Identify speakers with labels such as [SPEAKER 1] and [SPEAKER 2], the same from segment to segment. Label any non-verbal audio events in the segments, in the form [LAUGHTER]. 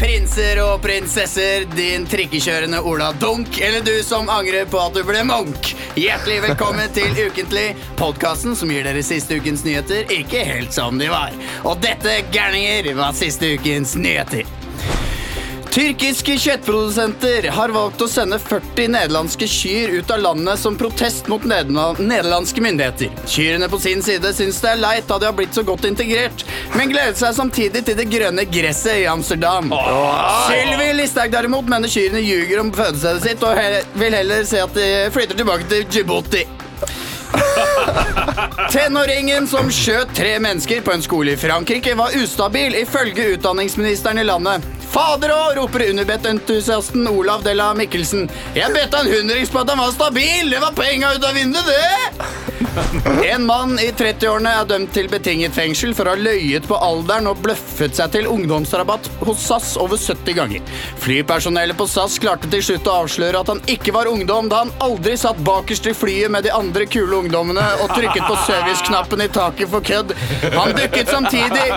[SPEAKER 1] prinser og prinsesser, din trikkekjørende Ola Dunk, eller du som angrer på at du ble Munch. Hjertelig velkommen til Ukentlig, podkasten som gir dere siste ukens nyheter ikke helt som de var. Og dette, gærninger, var siste ukens nyheter. Tyrkiske kjøttprodusenter har valgt å sende 40 nederlandske kyr ut av landet som protest mot nederla- nederlandske myndigheter. Kyrne på sin side syns det er leit da de har blitt så godt integrert, men gleder seg samtidig til det grønne gresset i Amsterdam. Sylvi Listhaug derimot mener kyrne ljuger om fødestedet sitt, og he vil heller se at de flytter tilbake til Djibouti. Tenåringen som skjøt tre mennesker på en skole i Frankrike, var ustabil, ifølge utdanningsministeren i landet. Fader òg, roper Unibet-entusiasten Olav de la Mikkelsen. Jeg betta en hundrings på at han var stabil! Det var penga ut av vinduet, det! En mann i 30-årene er dømt til betinget fengsel for å ha løyet på alderen og bløffet seg til ungdomsrabatt hos SAS over 70 ganger. Flypersonellet på SAS klarte til slutt å avsløre at han ikke var ungdom, da han aldri satt bakerst i flyet med de andre kule ungdommene og trykket på serviceknappen i taket for kødd. Han dukket samtidig,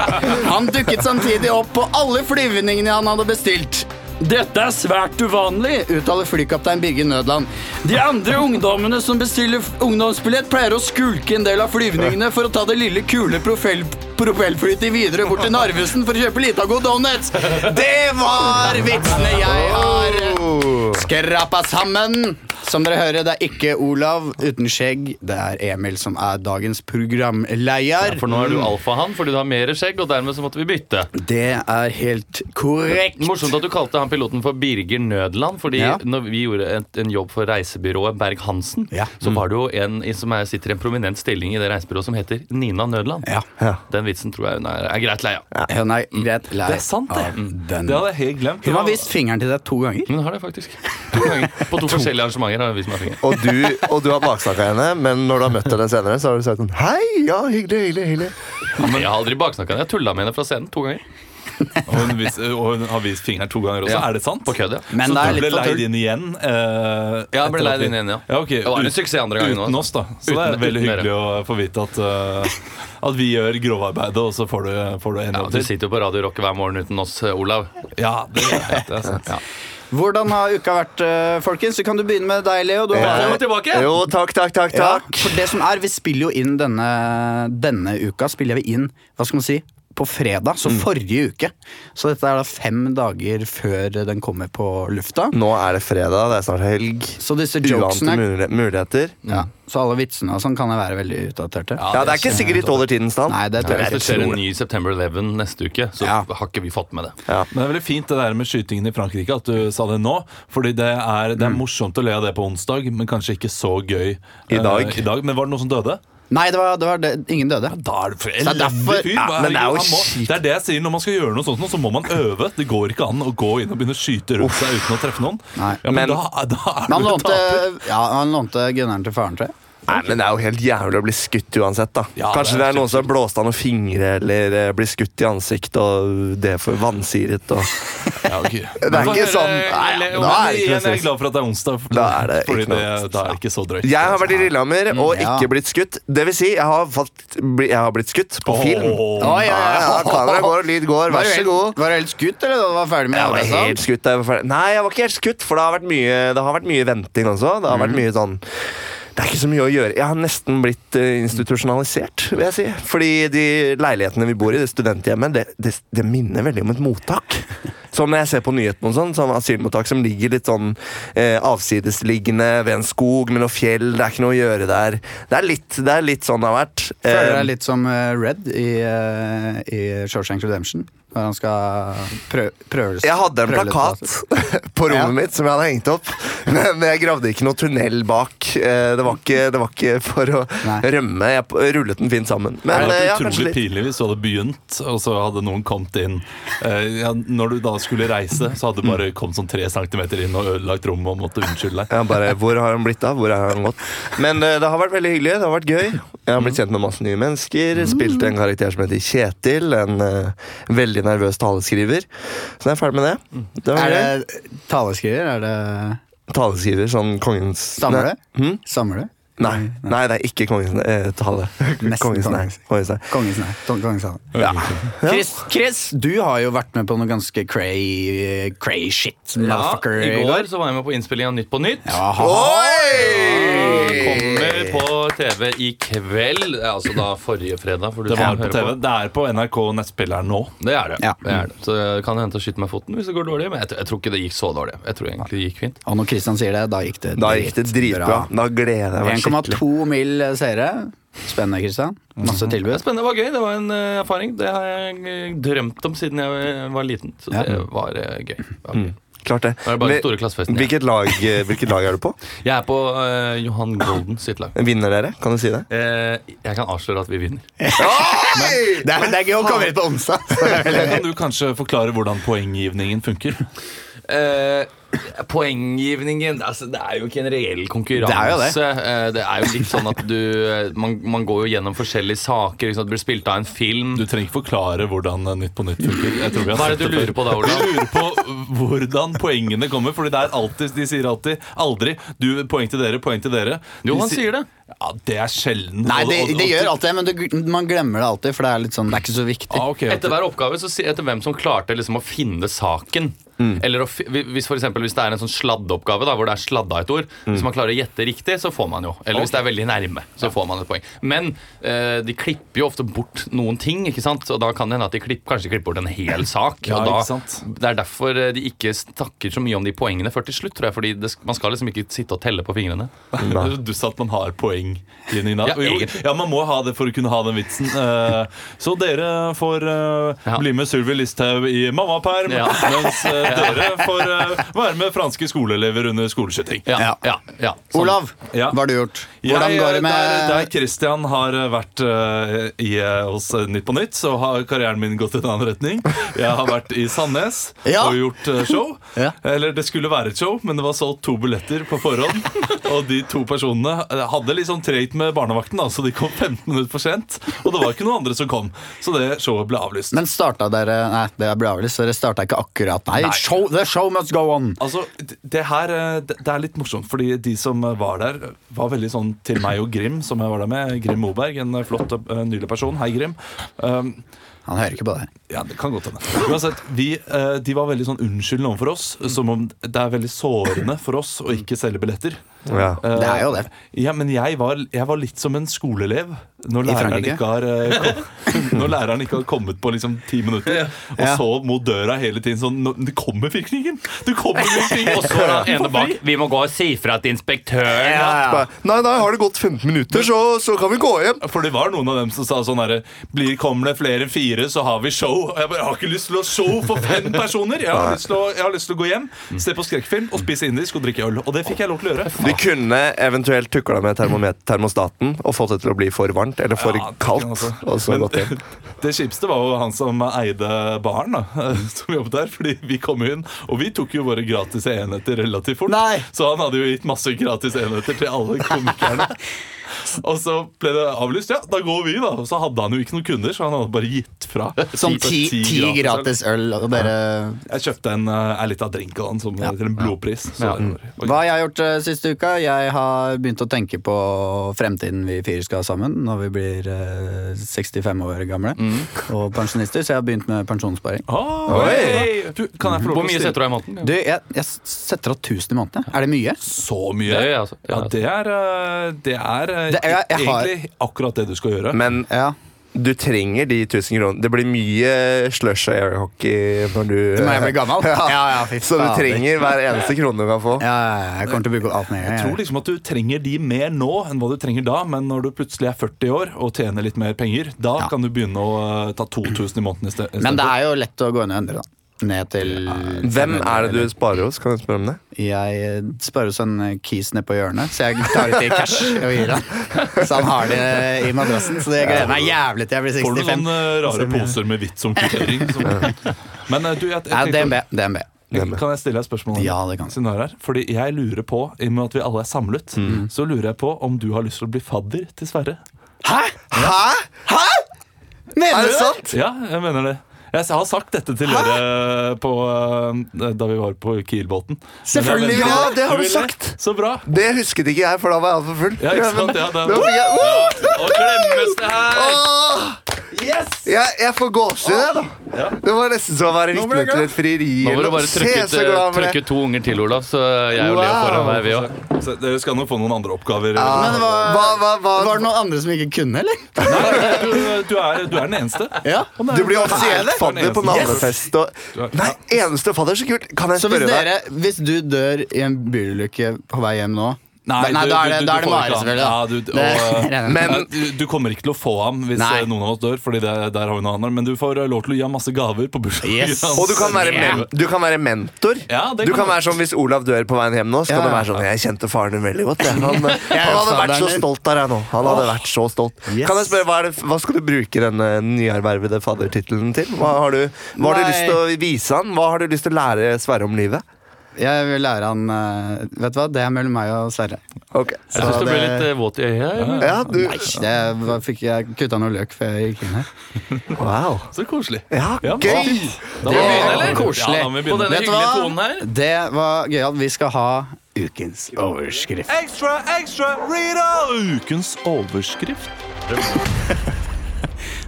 [SPEAKER 1] han dukket samtidig opp på alle flyvningene han hadde bestilt.
[SPEAKER 2] Dette er svært uvanlig.
[SPEAKER 1] Uttaler flykaptein Birger Nødland.
[SPEAKER 2] De andre ungdommene som bestiller f- ungdomsbillett, pleier å skulke en del av flyvningene for å ta det lille, kule profell
[SPEAKER 1] propellflyet til Widerøe bort til Narvesen for å kjøpe Litago donuts. Det var vitsene jeg har skrapa sammen. Som dere hører, det er ikke Olav uten skjegg. Det er Emil som er dagens programleder.
[SPEAKER 3] For nå er du alfahann fordi du har mer skjegg, og dermed så måtte vi bytte.
[SPEAKER 1] Det er helt korrekt.
[SPEAKER 3] Morsomt at du kalte han piloten for Birger Nødland, fordi
[SPEAKER 1] Ja.
[SPEAKER 3] når vi gjorde et, en jobb for reisebyrået Berg-Hansen,
[SPEAKER 1] Ja.
[SPEAKER 3] så
[SPEAKER 4] Mm.
[SPEAKER 3] var det jo en i- som er, sitter i en prominent stilling i det reisebyrået som heter Nina Nødland.
[SPEAKER 1] Ja.
[SPEAKER 3] Den vitsen tror jeg hun er, er greit lei av.
[SPEAKER 1] Hun er greit lei
[SPEAKER 4] Det er sant, det.
[SPEAKER 1] av den.
[SPEAKER 4] Det hadde jeg helt glemt.
[SPEAKER 1] Hun har vist fingeren til deg to ganger.
[SPEAKER 3] Hun har det faktisk. To ganger. På
[SPEAKER 4] [LAUGHS]
[SPEAKER 3] to, forskjellige arrangementer har hun vist meg fingeren.
[SPEAKER 5] Og du, og du har baksnakka henne, men når du har møtt henne senere, så har du sagt sånn Hei, ja, hyggelig, hyggelig, hyggelig.
[SPEAKER 3] Men jeg har aldri baksnakka henne. Jeg tulla med henne fra scenen to ganger.
[SPEAKER 4] Og hun, vis, og hun har vist fingeren to ganger også.
[SPEAKER 3] Ja.
[SPEAKER 4] Er det sant?
[SPEAKER 3] På kødd, ja.
[SPEAKER 1] Men
[SPEAKER 4] så
[SPEAKER 1] det er
[SPEAKER 4] du
[SPEAKER 1] litt
[SPEAKER 4] ble
[SPEAKER 1] for
[SPEAKER 4] leid
[SPEAKER 1] tull.
[SPEAKER 4] inn igjen? eh,
[SPEAKER 3] Ja, jeg ble
[SPEAKER 4] etter
[SPEAKER 3] leid
[SPEAKER 4] at vi-
[SPEAKER 3] inn igjen, ja.
[SPEAKER 4] ja ok.
[SPEAKER 3] Det var en
[SPEAKER 4] Ut-
[SPEAKER 3] suksess andre gangen
[SPEAKER 4] Uten
[SPEAKER 3] også.
[SPEAKER 4] oss, da. Så
[SPEAKER 3] Uten-
[SPEAKER 4] det er veldig
[SPEAKER 3] uten dere.
[SPEAKER 4] hyggelig å få vite at, eh, at vi gjør grovarbeidet, og så får du, får du en
[SPEAKER 3] Ja,
[SPEAKER 4] jobb
[SPEAKER 3] Du
[SPEAKER 4] til.
[SPEAKER 3] sitter jo på Radio Rock hver morgen uten oss, eh, Olav.
[SPEAKER 4] Ja, det, det er sant.
[SPEAKER 1] Hvordan har uka vært, eh, folkens? Så kan du begynne med deg, Leo. Du har
[SPEAKER 3] Velkommen tilbake!
[SPEAKER 5] Jo, takk, takk, takk.
[SPEAKER 1] Ja,
[SPEAKER 5] takk.
[SPEAKER 1] for det som er, vi spiller jo inn denne, denne uka Spiller vi inn, hva skal man si På fredag, så forrige uke Så dette er da fem dager før den kommer på lufta
[SPEAKER 5] Nå er det fredag, det er snart helg.
[SPEAKER 1] Så disse
[SPEAKER 5] Mm. Uante
[SPEAKER 1] jokesene Mm.
[SPEAKER 5] mul- muligheter.
[SPEAKER 1] ja, Så alle vitsene og sånn kan jo være veldig utdaterte
[SPEAKER 5] Ja, det er ikke sikkert de tåler tidens tann.
[SPEAKER 1] Nei, det tror
[SPEAKER 3] Hvis
[SPEAKER 1] jeg
[SPEAKER 3] det skjer en ny September 11 neste uke, så
[SPEAKER 1] Ja.
[SPEAKER 3] har ikke vi fått med det.
[SPEAKER 4] Men det er veldig fint det der med skytingen i Frankrike, at du sa det nå. Fordi det er, det er morsomt å le av det på onsdag, men kanskje ikke så gøy
[SPEAKER 5] Mm. I
[SPEAKER 4] eh,
[SPEAKER 5] dag.
[SPEAKER 4] i dag. Men var det noen som dødde?
[SPEAKER 1] Nei, det var, det var det, ingen døde
[SPEAKER 4] Da er det for
[SPEAKER 1] er
[SPEAKER 4] elendig
[SPEAKER 1] derfor-
[SPEAKER 4] fyr.
[SPEAKER 1] Ja,
[SPEAKER 4] Hva-
[SPEAKER 5] men det er jo
[SPEAKER 4] han må,
[SPEAKER 5] kjipt.
[SPEAKER 4] det er det jeg sier. Når man skal gjøre noe sånt, nå, så må man øve. Det går ikke an å gå inn og begynne å skyte rundt seg uten å treffe noen.
[SPEAKER 1] Nei.
[SPEAKER 4] Ja, men,
[SPEAKER 5] Men-
[SPEAKER 4] da, da er
[SPEAKER 1] Men han
[SPEAKER 4] du en
[SPEAKER 1] lånte,
[SPEAKER 4] taper.
[SPEAKER 1] ja, han lånte gunneren til faren til
[SPEAKER 5] Nei, men det er jo helt jævlig å bli skutt uansett, da.
[SPEAKER 4] Ja,
[SPEAKER 5] Kanskje
[SPEAKER 4] det
[SPEAKER 5] det
[SPEAKER 4] er
[SPEAKER 5] er noen som har blåst av noen fingre, eller eh, blir skutt i ansiktet, og det er for vansiret og
[SPEAKER 4] Ja, ok.
[SPEAKER 5] Det er
[SPEAKER 4] Men
[SPEAKER 5] ikke
[SPEAKER 4] høre,
[SPEAKER 5] sånn Nei,
[SPEAKER 4] Leo,
[SPEAKER 5] da
[SPEAKER 4] men
[SPEAKER 5] er det ikke noe
[SPEAKER 4] igjen, Jeg er
[SPEAKER 5] stress.
[SPEAKER 4] glad for at det er onsdag, for-
[SPEAKER 5] Da er det
[SPEAKER 4] fordi
[SPEAKER 5] ikke noe
[SPEAKER 4] det, da er det ikke så drøyt.
[SPEAKER 5] Jeg har vært i Lillehammer og
[SPEAKER 1] Mm, ja.
[SPEAKER 5] ikke blitt skutt. Det vil si, jeg har, falt, bli, jeg har blitt skutt på
[SPEAKER 4] Åh.
[SPEAKER 5] film.
[SPEAKER 1] Oi,
[SPEAKER 5] Ja, ja, kamera går, lyd
[SPEAKER 1] Var
[SPEAKER 5] går, vær
[SPEAKER 1] du
[SPEAKER 5] så
[SPEAKER 1] helt-
[SPEAKER 5] god.
[SPEAKER 1] Var du helt skutt, eller da du var ferdig med
[SPEAKER 5] Jeg var
[SPEAKER 1] arbeidet?
[SPEAKER 5] helt skutt da jeg var ferdig. Nei, jeg var ikke helt skutt, for det har vært mye, det har vært mye venting også. Det har vært
[SPEAKER 1] Mhm.
[SPEAKER 5] mye sånn Det er ikke så mye å gjøre. Jeg har nesten blitt eh, institusjonalisert, vil jeg si. Fordi de leilighetene vi bor i, det studenthjemmet, det, det, det minner veldig om
[SPEAKER 1] [LAUGHS]
[SPEAKER 5] et mottak. Som når jeg ser på nyhetene og sånn, sånn asylmottak som ligger litt sånn eh, avsidesliggende ved en skog med noe fjell, det er ikke noe å gjøre der. Det er litt, det er litt sånn det har vært.
[SPEAKER 1] Føler
[SPEAKER 5] Eh,
[SPEAKER 1] deg litt som eh, Red i, eh, i Shawshank Redemption. Når han skal prøve, prøve
[SPEAKER 5] Jeg hadde en
[SPEAKER 1] prøve litt på seg.
[SPEAKER 5] plakat [LAUGHS] på rommet
[SPEAKER 1] Ja.
[SPEAKER 5] mitt som jeg hadde hengt opp, [LAUGHS] men jeg gravde ikke noe tunnel bak. Eh, Det var ikke, det var ikke for å
[SPEAKER 1] Nei.
[SPEAKER 5] rømme. Jeg p- rullet den fint sammen.
[SPEAKER 4] Det
[SPEAKER 5] Men
[SPEAKER 4] hadde
[SPEAKER 5] eh, ja,
[SPEAKER 4] vært
[SPEAKER 5] kanskje
[SPEAKER 4] utrolig
[SPEAKER 5] litt.
[SPEAKER 4] pinlig hvis du hadde begynt, og så hadde noen kommet inn. Eh, ja, når du da skulle reise, så hadde du bare kommet sånn tre centimeter inn og ødelagt rommet og måtte unnskylde deg.
[SPEAKER 5] Jeg bare, Hvor har han blitt av? Hvor har han gått? Men eh, det har vært veldig hyggelig. Det har vært gøy. Jeg har blitt kjent med masse nye mennesker.
[SPEAKER 1] Mm.
[SPEAKER 5] Spilte en karakter som heter Kjetil. En eh, veldig nervøs taleskriver. Så jeg er ferdig med det. Det var
[SPEAKER 1] Mm. Er
[SPEAKER 5] gøy.
[SPEAKER 1] det taleskriver? Er det
[SPEAKER 5] Taleskriver, sånn kongens
[SPEAKER 1] Stammer
[SPEAKER 5] Nei.
[SPEAKER 1] det?
[SPEAKER 5] Hm?
[SPEAKER 1] Stammer det?
[SPEAKER 5] Nei, nei, det er ikke Kongens eh, tale.
[SPEAKER 1] Nesten
[SPEAKER 5] Kongens nei.
[SPEAKER 1] Kongens.
[SPEAKER 5] Kongens nei.
[SPEAKER 1] Kongens nei. Tong- Kongens nei. Chris, Chris, du har jo vært med på noe ganske cray, cray shit. Motherfucker.
[SPEAKER 3] I går så var jeg med på innspilling av Nytt på nytt. Kommer på TV i kveld. eh, Altså da forrige fredag. For du
[SPEAKER 4] Det
[SPEAKER 3] kan
[SPEAKER 4] var på
[SPEAKER 3] høre
[SPEAKER 4] TV. Det er på NRK Nettspilleren nå.
[SPEAKER 3] Det er det.
[SPEAKER 1] Ja.
[SPEAKER 3] det, er det. Så det kan hende å skyte meg i foten hvis det går dårlig. Men jeg, tr- jeg tror ikke det gikk så dårlig. Jeg tror egentlig det gikk fint.
[SPEAKER 1] Og når Christian sier det, da gikk det
[SPEAKER 5] Da gikk det dritbra. Da gleder jeg meg skikkelig. Mhm.
[SPEAKER 1] 1,2 mill. seere. Spennende, Christian. Masse tilbud.
[SPEAKER 3] Spennende, det var gøy. Det var en eh, erfaring. Det har jeg eh, drømt om siden jeg eh, var liten. Så
[SPEAKER 1] Ja.
[SPEAKER 3] det var eh, gøy. Ja.
[SPEAKER 5] Klart det.
[SPEAKER 3] Da er det bare
[SPEAKER 5] Men-
[SPEAKER 3] store klassefesten, ja.
[SPEAKER 5] hvilket, lag, eh, hvilket lag er du på?
[SPEAKER 3] Jeg er på eh, Johan Golden sitt lag.
[SPEAKER 5] Vinner dere? Kan du si det?
[SPEAKER 3] Eh, jeg kan avsløre at vi vinner.
[SPEAKER 1] Det er, det er gøy å komme hit på onsdag.
[SPEAKER 4] Kan du kanskje forklare hvordan poenggivningen funker?
[SPEAKER 3] Eh, poenggivningen altså, Det er jo ikke en reell konkurranse.
[SPEAKER 1] Det er jo det.
[SPEAKER 3] Eh, det er jo litt sånn at du eh, man, man går jo gjennom forskjellige saker. Ikke sant? Det blir spilt av en film.
[SPEAKER 4] Du trenger ikke forklare hvordan eh, Nytt på Nytt funker. Jeg tror vi
[SPEAKER 3] Hva
[SPEAKER 4] har
[SPEAKER 3] er
[SPEAKER 4] sett
[SPEAKER 3] det du lurer
[SPEAKER 4] før.
[SPEAKER 3] på da, Olav?
[SPEAKER 4] Jeg lurer på hvordan poengene kommer. Fordi det er alltid, De sier alltid 'aldri'. Du, poeng til dere, poeng til dere. De
[SPEAKER 3] Jo, han
[SPEAKER 4] si-
[SPEAKER 3] sier det.
[SPEAKER 4] Ja, Det er sjelden.
[SPEAKER 1] Nei, det,
[SPEAKER 4] Og- og-
[SPEAKER 1] det
[SPEAKER 4] og-
[SPEAKER 1] gjør alt det, men det, man glemmer det alltid, for det er litt sånn, det er ikke så viktig.
[SPEAKER 4] Ah, ok, ok.
[SPEAKER 3] Etter hver oppgave så si- etter hvem som klarte liksom å finne saken.
[SPEAKER 1] Mm.
[SPEAKER 3] Eller å, fi- hvis, for eksempel, hvis det er en sånn sladdeoppgave da, hvor det er sladda et ord,
[SPEAKER 1] Mm.
[SPEAKER 3] hvis man klarer å gjette riktig, så får man jo. Eller hvis det er veldig nærme, så får man et poeng. Men eh, de klipper jo ofte bort noen ting, ikke sant? og da kan det hende at de klipp, kanskje klipper bort en hel sak.
[SPEAKER 4] Ja,
[SPEAKER 3] og da,
[SPEAKER 4] ikke sant?
[SPEAKER 3] Det er derfor eh, de ikke snakker så mye om de poengene før til slutt, tror jeg. fordi det, sk- man skal liksom ikke sitte og telle på fingrene.
[SPEAKER 4] Det [LAUGHS] er så dust at man har poeng. i Nina.
[SPEAKER 3] Ja,
[SPEAKER 4] Jo,
[SPEAKER 3] egentlig.
[SPEAKER 4] ja, man må ha det for å kunne ha den vitsen. Eh, så dere får eh,
[SPEAKER 3] Ja.
[SPEAKER 4] bli med Sylvi Listhaug i mammaperm,
[SPEAKER 3] [LAUGHS] Ja.
[SPEAKER 4] mens eh, dere får eh, være med franske skoleelever under skoleskyting.
[SPEAKER 1] Ja.
[SPEAKER 3] ja, ja. Sånn.
[SPEAKER 1] Olav,
[SPEAKER 4] Ja.
[SPEAKER 1] hva har du gjort? Hvordan
[SPEAKER 4] Jeg, eh,
[SPEAKER 1] går det
[SPEAKER 4] Der, der
[SPEAKER 1] med
[SPEAKER 4] Christian har vært eh, i, eh, hos eh, Nytt på Nytt, så har karrieren min gått i en annen retning. Jeg har vært i Sandnes
[SPEAKER 1] [LAUGHS] Ja.
[SPEAKER 4] og gjort eh, show.
[SPEAKER 1] Ja.
[SPEAKER 4] Eller det skulle være et show, men det var solgt to billetter på forhånd.
[SPEAKER 1] [LAUGHS]
[SPEAKER 4] Og de to personene eh, hadde liksom tregt med barnevakten, da, så de kom 15 minutter for sent. Og det var ikke noen andre som kom, så det showet ble avlyst.
[SPEAKER 1] Men starta dere Nei, det er bra, så dere starta ikke akkurat Nei, Show, the show must go on!
[SPEAKER 4] Altså, d- det her eh, det det er litt morsomt, fordi de som eh, var der, eh, var veldig sånn til meg og Grim, som jeg var der med. Grim Moberg, en eh, flott, eh, nylig person. Hei, Grim. Um,
[SPEAKER 1] Han hører ikke på det. her.
[SPEAKER 4] ja, det kan godt hende. Uansett, vi, eh, de var veldig sånn unnskyldende overfor oss, som om det er veldig sårende for oss å ikke selge billetter.
[SPEAKER 5] Ja.
[SPEAKER 4] Eh,
[SPEAKER 1] Det er jo det.
[SPEAKER 4] Ja, men jeg var, jeg var litt som en skoleelev når læreren
[SPEAKER 1] Frankrike?
[SPEAKER 4] ikke har, eh, kom,
[SPEAKER 1] [LAUGHS]
[SPEAKER 4] når læreren ikke har kommet på liksom ti minutter, og
[SPEAKER 1] Ja.
[SPEAKER 4] så mot døra hele tiden sånn "Nå- Det kommer virkningen! Det kommer virkningen!
[SPEAKER 3] Og så da, ene bak. Vi må gå og si fra til inspektøren.
[SPEAKER 1] Ja, ja.
[SPEAKER 5] Bare, Nei, nei, har det gått 15 minutter, så, så kan vi gå hjem.
[SPEAKER 4] For det var noen av dem som sa sånn herre "Blir- Kommer det flere enn fire, så har vi show. Og Jeg, bare, jeg har ikke lyst til å ha show for fem personer. Jeg har, lyst til å, jeg har lyst til å gå hjem, se på skrekkfilm og spise indisk og drikke øl. Og det fikk jeg lov til å gjøre.
[SPEAKER 5] Du kunne eventuelt tukla med termomet- termostaten og fått det til å bli for varmt eller for
[SPEAKER 4] Ja, det
[SPEAKER 5] kaldt.
[SPEAKER 4] kunne altså.
[SPEAKER 5] Og så
[SPEAKER 4] Men
[SPEAKER 5] gått
[SPEAKER 4] [LAUGHS]
[SPEAKER 5] hjem.
[SPEAKER 4] Det kjipeste var jo han som eide baren, da, [LAUGHS] som jobbet der. Fordi vi kom jo inn, og vi tok jo våre gratis enheter relativt fort.
[SPEAKER 1] Nei.
[SPEAKER 4] Så han hadde jo gitt masse gratis enheter til alle komikerne.
[SPEAKER 5] [LAUGHS]
[SPEAKER 4] Og så ble det avlyst. Ja, da går vi, da. Og så hadde han jo ikke noen kunder, så han hadde bare gitt fra.
[SPEAKER 1] Sånn ti,
[SPEAKER 4] Ti
[SPEAKER 1] ti gratis øl, og dere
[SPEAKER 4] Jeg kjøpte en, eh, en liten drink av han som, til en blodpris. Så det var-
[SPEAKER 1] Hva har jeg gjort eh, siste uka? Jeg har begynt å tenke på fremtiden vi fire skal ha sammen når vi blir eh, 65 år gamle
[SPEAKER 4] Mm.
[SPEAKER 1] og pensjonister, så jeg har begynt med pensjonssparing.
[SPEAKER 4] Ah,
[SPEAKER 5] Oi.
[SPEAKER 4] Du, kan jeg få lov
[SPEAKER 3] Hvor mye
[SPEAKER 4] til å stille-
[SPEAKER 3] setter du av i måneden?
[SPEAKER 1] Du, jeg, jeg setter av 1000 i måneden. jeg. Er det mye?
[SPEAKER 4] Så mye.
[SPEAKER 3] Det gjør jeg, altså. Det altså.
[SPEAKER 4] Ja,
[SPEAKER 3] gjør
[SPEAKER 4] det er, eh, det er, eh,
[SPEAKER 1] Det er- jeg- jeg har-
[SPEAKER 4] egentlig akkurat det du skal gjøre.
[SPEAKER 5] Men
[SPEAKER 1] Ja.
[SPEAKER 5] du trenger de 1000 kronene. Det blir mye slush og air hockey når du
[SPEAKER 1] Når jeg blir
[SPEAKER 5] [LAUGHS]
[SPEAKER 1] gammel? [LAUGHS] Ja, ja, fy
[SPEAKER 5] Så du
[SPEAKER 1] fader.
[SPEAKER 5] trenger hver eneste krone du kan få.
[SPEAKER 1] Ja, ja, ja, jeg kommer til å bruke opp alt med en
[SPEAKER 4] Jeg
[SPEAKER 1] gang.
[SPEAKER 4] tror liksom at du trenger de mer nå enn hva du trenger da, men når du plutselig er 40 år og tjener litt mer penger, da
[SPEAKER 1] Ja.
[SPEAKER 4] kan du begynne å eh, ta 2000 i måneden i sted- i stedet.
[SPEAKER 1] Men det er jo lett å gå inn og endre, da. Ned til
[SPEAKER 5] Hvem er det du sparer hos? Kan jeg spørre om det?
[SPEAKER 1] Jeg eh, sparer hos en eh, kis nede på hjørnet, så jeg tar ut i cash og gir [LAUGHS] han. Så han har det i madrassen, så det gleder meg jævlig til jeg blir
[SPEAKER 4] Får du
[SPEAKER 1] 65.
[SPEAKER 4] sånne rare poser med hvitt som kvittering? Som... Men eh, du, jeg,
[SPEAKER 1] Ja,
[SPEAKER 4] jeg
[SPEAKER 1] DNB.
[SPEAKER 4] tenkte,
[SPEAKER 1] DNB.
[SPEAKER 4] kan jeg stille deg et spørsmål?
[SPEAKER 1] Ja, det kan du.
[SPEAKER 4] Siden du er her? Fordi jeg lurer på, i og med at vi alle er samlet,
[SPEAKER 1] Mm.
[SPEAKER 4] så lurer jeg på om du har lyst til å bli fadder til Sverre.
[SPEAKER 1] Hæ?! Hæ?! Hæ?! Mener
[SPEAKER 5] Er
[SPEAKER 1] du
[SPEAKER 5] det
[SPEAKER 1] det?
[SPEAKER 5] sant?
[SPEAKER 4] Ja, jeg mener det. Jeg har sagt dette til dere på, eh, da vi var på Kielbåten.
[SPEAKER 1] Selvfølgelig vil jeg
[SPEAKER 4] Men jeg
[SPEAKER 5] Ja,
[SPEAKER 4] venter-
[SPEAKER 5] det har du
[SPEAKER 4] vil
[SPEAKER 5] sagt!
[SPEAKER 4] Så bra.
[SPEAKER 5] Det husket ikke jeg, for da var jeg altfor full.
[SPEAKER 4] Ja, ikke sant? Ja, det,
[SPEAKER 5] Da fikk jeg,
[SPEAKER 4] ja. Og klemmes det her!
[SPEAKER 5] Åh! Jeg, jeg får gåsehud, jeg, da. Det var nesten som å være vitne til et frieri.
[SPEAKER 3] Nå må
[SPEAKER 5] eller
[SPEAKER 3] du
[SPEAKER 5] noe.
[SPEAKER 3] bare
[SPEAKER 5] Se,
[SPEAKER 3] trykke, ut, eh,
[SPEAKER 5] så glad jeg ble.
[SPEAKER 3] trykke ut to unger til, Olav, så jeg og Leo
[SPEAKER 5] Wow.
[SPEAKER 3] foran deg, vi òg.
[SPEAKER 4] Så Dere skal nok få noen andre oppgaver.
[SPEAKER 1] Men det var,
[SPEAKER 5] Hva, hva, hva?
[SPEAKER 1] var det noen andre som ikke kunne, eller?
[SPEAKER 4] Du, du, er, du er den eneste.
[SPEAKER 1] Ja.
[SPEAKER 5] Du blir offisielt fadder på
[SPEAKER 4] Yes.
[SPEAKER 5] navnefest. Og... Nei, eneste fadder, så kult! Kan jeg
[SPEAKER 1] Så hvis,
[SPEAKER 5] spørre deg?
[SPEAKER 1] dere, hvis du dør i en bilulykke på vei hjem nå Nei,
[SPEAKER 4] du-
[SPEAKER 1] da er
[SPEAKER 4] du-
[SPEAKER 1] det, da
[SPEAKER 4] du- du
[SPEAKER 1] er det
[SPEAKER 4] får
[SPEAKER 1] Mare,
[SPEAKER 4] ikke han.
[SPEAKER 1] selvfølgelig. Da.
[SPEAKER 4] Ja,
[SPEAKER 1] [LAUGHS]
[SPEAKER 4] du, og,
[SPEAKER 1] Det-
[SPEAKER 5] Men
[SPEAKER 4] Ja, du, du kommer ikke til å få ham hvis
[SPEAKER 1] Nei.
[SPEAKER 4] eh, noen av oss dør, Fordi det, der har vi noe annet. Men du får eh, lov til å gi ham masse gaver på bursdagen
[SPEAKER 1] Yes.
[SPEAKER 4] hans.
[SPEAKER 5] Og du kan være, men, du kan være mentor.
[SPEAKER 4] Ja, det
[SPEAKER 5] du
[SPEAKER 4] kan
[SPEAKER 5] kan
[SPEAKER 4] du.
[SPEAKER 5] være sånn Hvis Olav dør på veien hjem nå, så kan
[SPEAKER 1] Ja.
[SPEAKER 5] du være sånn Jeg kjente faren din veldig godt. jeg.
[SPEAKER 1] [LAUGHS]
[SPEAKER 5] Han, han hadde vært så
[SPEAKER 1] fadderen din.
[SPEAKER 5] stolt av deg nå. Han hadde vært så stolt Kan jeg spørre, hva, er det, hva skal du bruke denne nyervervede faddertittelen til? Hva har du, hva har du
[SPEAKER 1] Nei.
[SPEAKER 5] lyst til å vise han? Hva har du lyst til å lære Sverre om livet?
[SPEAKER 1] Jeg vil lære han eh, Vet du hva, det er mellom meg og Sverre.
[SPEAKER 5] Ok
[SPEAKER 3] Jeg syns
[SPEAKER 1] Så
[SPEAKER 3] du ble
[SPEAKER 1] det-
[SPEAKER 3] litt eh, våt i øyet. eller?
[SPEAKER 5] ja, du,
[SPEAKER 1] Det var, fikk jeg kutta noe løk før jeg gikk inn her.
[SPEAKER 5] wow.
[SPEAKER 4] Så koselig.
[SPEAKER 5] Ja,
[SPEAKER 4] Ja, men-
[SPEAKER 5] gøy!
[SPEAKER 3] Da må vi begynne,
[SPEAKER 1] var
[SPEAKER 3] eller?
[SPEAKER 1] koselig.
[SPEAKER 4] Ja, da må vi
[SPEAKER 3] På denne
[SPEAKER 4] begynne.
[SPEAKER 1] Vet du
[SPEAKER 3] hyggelige
[SPEAKER 1] hva?
[SPEAKER 3] tonen her.
[SPEAKER 1] Det var gøyalt. Vi skal ha ukens overskrift.
[SPEAKER 4] Ekstra, ekstra, Rita! Ukens overskrift.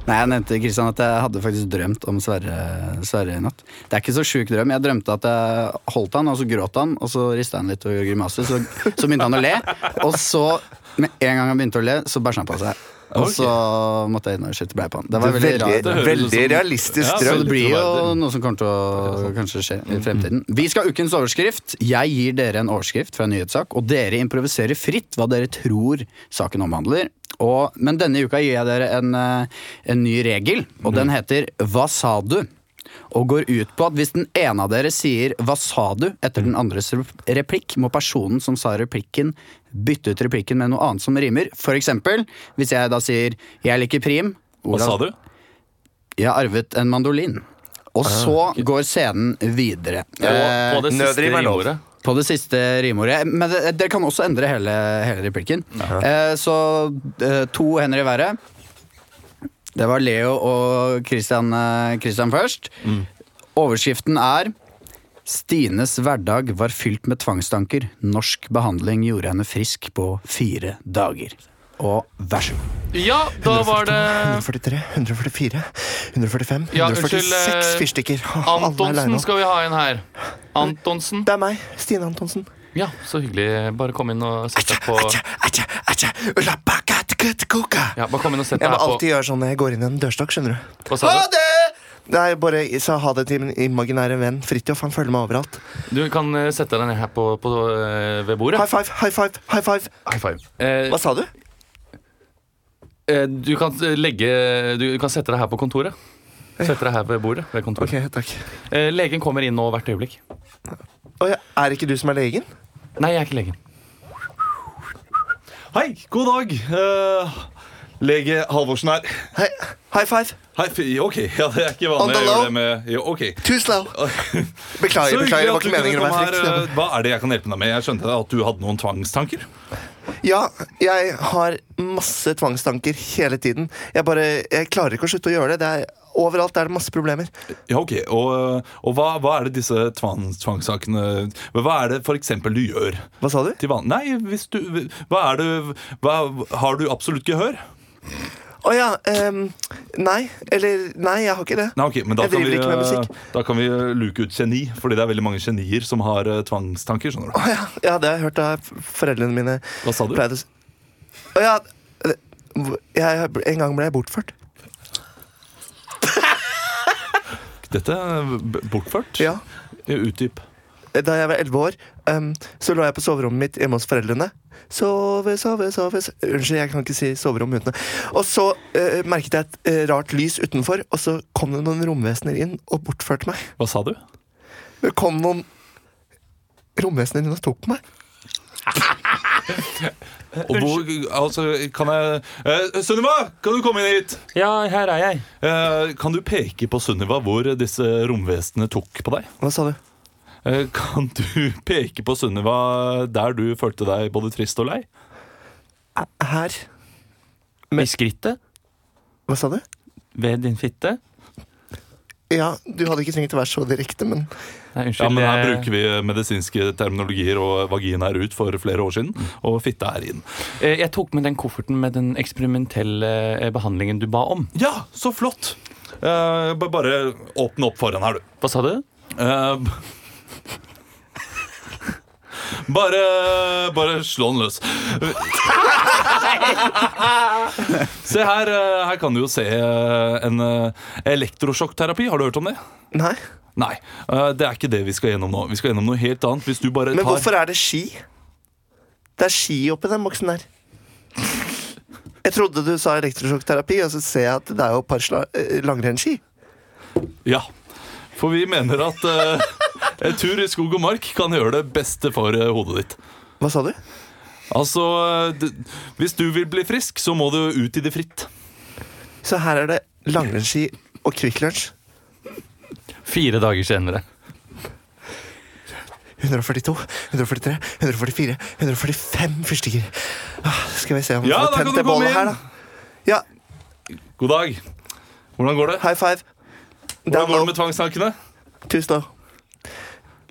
[SPEAKER 1] Nei, Jeg nevnte Kristian, at jeg hadde faktisk drømt om Sverre, Sverre i natt. Det er ikke så sjuk drøm. Jeg drømte at jeg holdt han, og så gråt han, og så rista han litt og gjorde grimaser. Så, så begynte han å le, og så, med en gang han begynte å le, så bæsja han på seg. Og
[SPEAKER 4] Ok.
[SPEAKER 1] så måtte jeg inn og skifte bleie på han. Det var veldig rart.
[SPEAKER 5] Veldig,
[SPEAKER 4] høres ut
[SPEAKER 5] veldig
[SPEAKER 4] som- Ja,
[SPEAKER 5] realistisk
[SPEAKER 1] Så
[SPEAKER 5] drøm.
[SPEAKER 1] det blir jo noe som kommer til å kanskje skje i fremtiden. Vi skal ha ukens overskrift. Jeg gir dere en overskrift fra en nyhetssak, og dere improviserer fritt hva dere tror saken omhandler. Og, men denne uka gir jeg dere en, eh, en ny regel, og den heter Hva sa du? Og går ut på at hvis den ene av dere sier 'hva sa du' etter den andres replikk, må personen som sa replikken bytte ut replikken med noe annet som rimer. For eksempel, hvis jeg da sier 'jeg liker prim',
[SPEAKER 4] Hva
[SPEAKER 1] Olav-
[SPEAKER 4] sa du?
[SPEAKER 1] jeg har arvet en mandolin. Og så går scenen videre.
[SPEAKER 3] Ah, Og på
[SPEAKER 1] Eh,
[SPEAKER 3] det siste
[SPEAKER 5] nødrim er lov.
[SPEAKER 3] rimordet.
[SPEAKER 1] på det siste rimordet. Men det- dere kan også endre hele, hele replikken. Eh, så eh, to hender i været. Det var Leo og Christian, eh, Christian først.
[SPEAKER 3] Mm.
[SPEAKER 1] Overskriften er Stines hverdag var fylt med tvangstanker. Norsk behandling gjorde henne frisk på fire dager. Og vær så god.
[SPEAKER 3] Ja, da var det
[SPEAKER 5] 143, 144, 145,
[SPEAKER 3] Ja, unnskyld,
[SPEAKER 5] 146
[SPEAKER 3] eh,
[SPEAKER 5] fyrstikker. Alle er
[SPEAKER 3] Antonsen
[SPEAKER 5] alene.
[SPEAKER 3] skal vi ha inn her. Antonsen.
[SPEAKER 5] Det er meg, Stine Antonsen.
[SPEAKER 3] Ja, så hyggelig. Bare kom inn og sett deg på
[SPEAKER 5] Atja, atja, rabakatkutukuka.
[SPEAKER 3] Ja, bare kom inn og sett
[SPEAKER 5] Jeg
[SPEAKER 3] deg
[SPEAKER 5] må
[SPEAKER 3] her på
[SPEAKER 5] alltid gjøre sånn når jeg går inn i en dørstokk. skjønner du
[SPEAKER 3] Hva sa du?
[SPEAKER 5] Nei, bare sa ha det til min imaginære venn Fridtjof. Han følger meg overalt.
[SPEAKER 3] Du kan eh, sette deg ned her på, på, eh, ved bordet.
[SPEAKER 5] High five, high five, high five.
[SPEAKER 3] High five. Eh,
[SPEAKER 5] Hva sa du?
[SPEAKER 3] eh, du kan eh, legge Du kan sette deg her på kontoret. Sette deg her ved bordet. Ved kontoret.
[SPEAKER 5] Ok, takk.
[SPEAKER 3] Eh, legen kommer inn nå hvert øyeblikk.
[SPEAKER 5] Å, ja, er ikke du som er legen?
[SPEAKER 3] Nei, jeg er ikke legen.
[SPEAKER 4] Hei, god dag. Eh, lege Halvorsen her.
[SPEAKER 5] Hei, high five.
[SPEAKER 4] Hei, fy- ok, ja, det er ikke vanlig å
[SPEAKER 5] Antalo?
[SPEAKER 4] gjøre det med jo, Ok.
[SPEAKER 5] Too slow.
[SPEAKER 4] Så
[SPEAKER 5] Beklager, beklager.
[SPEAKER 4] hyggelig
[SPEAKER 5] Det
[SPEAKER 4] at
[SPEAKER 5] var
[SPEAKER 4] du
[SPEAKER 5] ikke meningen å
[SPEAKER 4] kunne komme
[SPEAKER 5] være
[SPEAKER 4] her.
[SPEAKER 5] frekk.
[SPEAKER 4] Eh, Hva er det jeg kan hjelpe deg med? Jeg skjønte at du hadde noen tvangstanker.
[SPEAKER 5] Ja, jeg har masse tvangstanker hele tiden. Jeg bare, jeg klarer ikke å slutte å gjøre det. det er, overalt er det masse problemer.
[SPEAKER 4] Ja, ok. Og, eh, og hva, hva er det disse tvang, tvangssakene Hva er det for eksempel du gjør?
[SPEAKER 5] Hva sa du?
[SPEAKER 4] Til van Nei, hvis du Hva er det hva, Har du absolutt gehør?
[SPEAKER 5] Å ja. ehm, nei. Eller nei, jeg har ikke det.
[SPEAKER 4] Nei, ok, men da
[SPEAKER 5] Jeg
[SPEAKER 4] kan,
[SPEAKER 5] driver
[SPEAKER 4] vi,
[SPEAKER 5] ikke med musikk.
[SPEAKER 4] eh, da kan vi eh, luke ut geni, fordi det er veldig mange genier som har eh, tvangstanker. skjønner du?
[SPEAKER 5] Å ja, ja, det har jeg hørt av f- foreldrene mine.
[SPEAKER 4] Hva sa du?
[SPEAKER 5] Pleide å s- Å ja, eh, hvor- jeg, en gang ble jeg bortført.
[SPEAKER 4] Dette er b- bortført. Eh,
[SPEAKER 5] Ja.
[SPEAKER 4] Utdyp.
[SPEAKER 5] Eh, Da jeg var elleve år, ehm, så lå jeg på soverommet mitt hjemme hos foreldrene. Sove, sove, sove so- Unnskyld, jeg kan ikke si soverom uten det. Og så eh, merket jeg et eh, rart lys utenfor, og så kom det noen romvesener inn og bortførte meg.
[SPEAKER 4] Hva sa du?
[SPEAKER 5] Det kom noen romvesener inn og tok meg.
[SPEAKER 4] Og hvor, altså, kan jeg eh, Sunniva, kan du komme inn hit?
[SPEAKER 3] Ja, her er jeg.
[SPEAKER 4] Eh, kan du peke på Sunniva hvor disse romvesenene tok på deg?
[SPEAKER 5] Hva sa du?
[SPEAKER 4] Eh, Kan du [LAUGHS] peke på Sunniva der du følte deg både trist og lei?
[SPEAKER 5] Her.
[SPEAKER 3] I skrittet.
[SPEAKER 5] Hva sa du?
[SPEAKER 3] Ved din fitte.
[SPEAKER 5] Ja, du hadde ikke trengt å være så direkte, men
[SPEAKER 3] Nei, unnskyld.
[SPEAKER 4] Ja, men Her
[SPEAKER 3] jeg-
[SPEAKER 4] bruker vi eh, medisinske terminologier, og vagina er ut for flere år siden. Og fitte er inn.
[SPEAKER 3] Eh, Jeg tok med den kofferten med den eksperimentelle eh, behandlingen du ba om.
[SPEAKER 4] Ja, så flott! Eh, ba- bare åpne opp foran her, du.
[SPEAKER 3] Hva sa du?
[SPEAKER 4] Eh, [LAUGHS] b- bare Bare slå den løs. [LAUGHS] Se her, eh, her kan du jo se eh, en eh, elektrosjokkterapi. Har du hørt om det?
[SPEAKER 5] nei.
[SPEAKER 4] Nei, eh, det er ikke det vi skal gjennom nå. Vi skal gjennom noe helt annet. Hvis du bare
[SPEAKER 5] Men
[SPEAKER 4] tar
[SPEAKER 5] hvorfor er det ski? Det er ski oppi den boksen der. Jeg trodde du sa elektrosjokkterapi, og så ser jeg at det er jo et par sla- eh, langrennsski.
[SPEAKER 4] Ja, for vi mener at eh, [LAUGHS] en tur i skog og mark kan gjøre det beste for eh, hodet ditt.
[SPEAKER 5] Hva sa du?
[SPEAKER 4] Altså, eh, d- hvis du vil bli frisk, så må du ut i det fritt.
[SPEAKER 5] Så her er det langrennsski og Kvikk Lunsj.
[SPEAKER 3] Fire dager senere.
[SPEAKER 5] 142, 143, 144, 145 fyrstikker. Ah, Skal vi se om vi
[SPEAKER 4] Ja,
[SPEAKER 5] får
[SPEAKER 4] da kan
[SPEAKER 5] tent
[SPEAKER 4] du
[SPEAKER 5] det
[SPEAKER 4] komme
[SPEAKER 5] bålet her,
[SPEAKER 4] inn.
[SPEAKER 5] da. Ja,
[SPEAKER 4] God dag. Hvordan går det?
[SPEAKER 5] high five.
[SPEAKER 4] Hvordan
[SPEAKER 5] Down
[SPEAKER 4] går
[SPEAKER 5] low.
[SPEAKER 4] det med tvangstankene?
[SPEAKER 5] Tusen takk.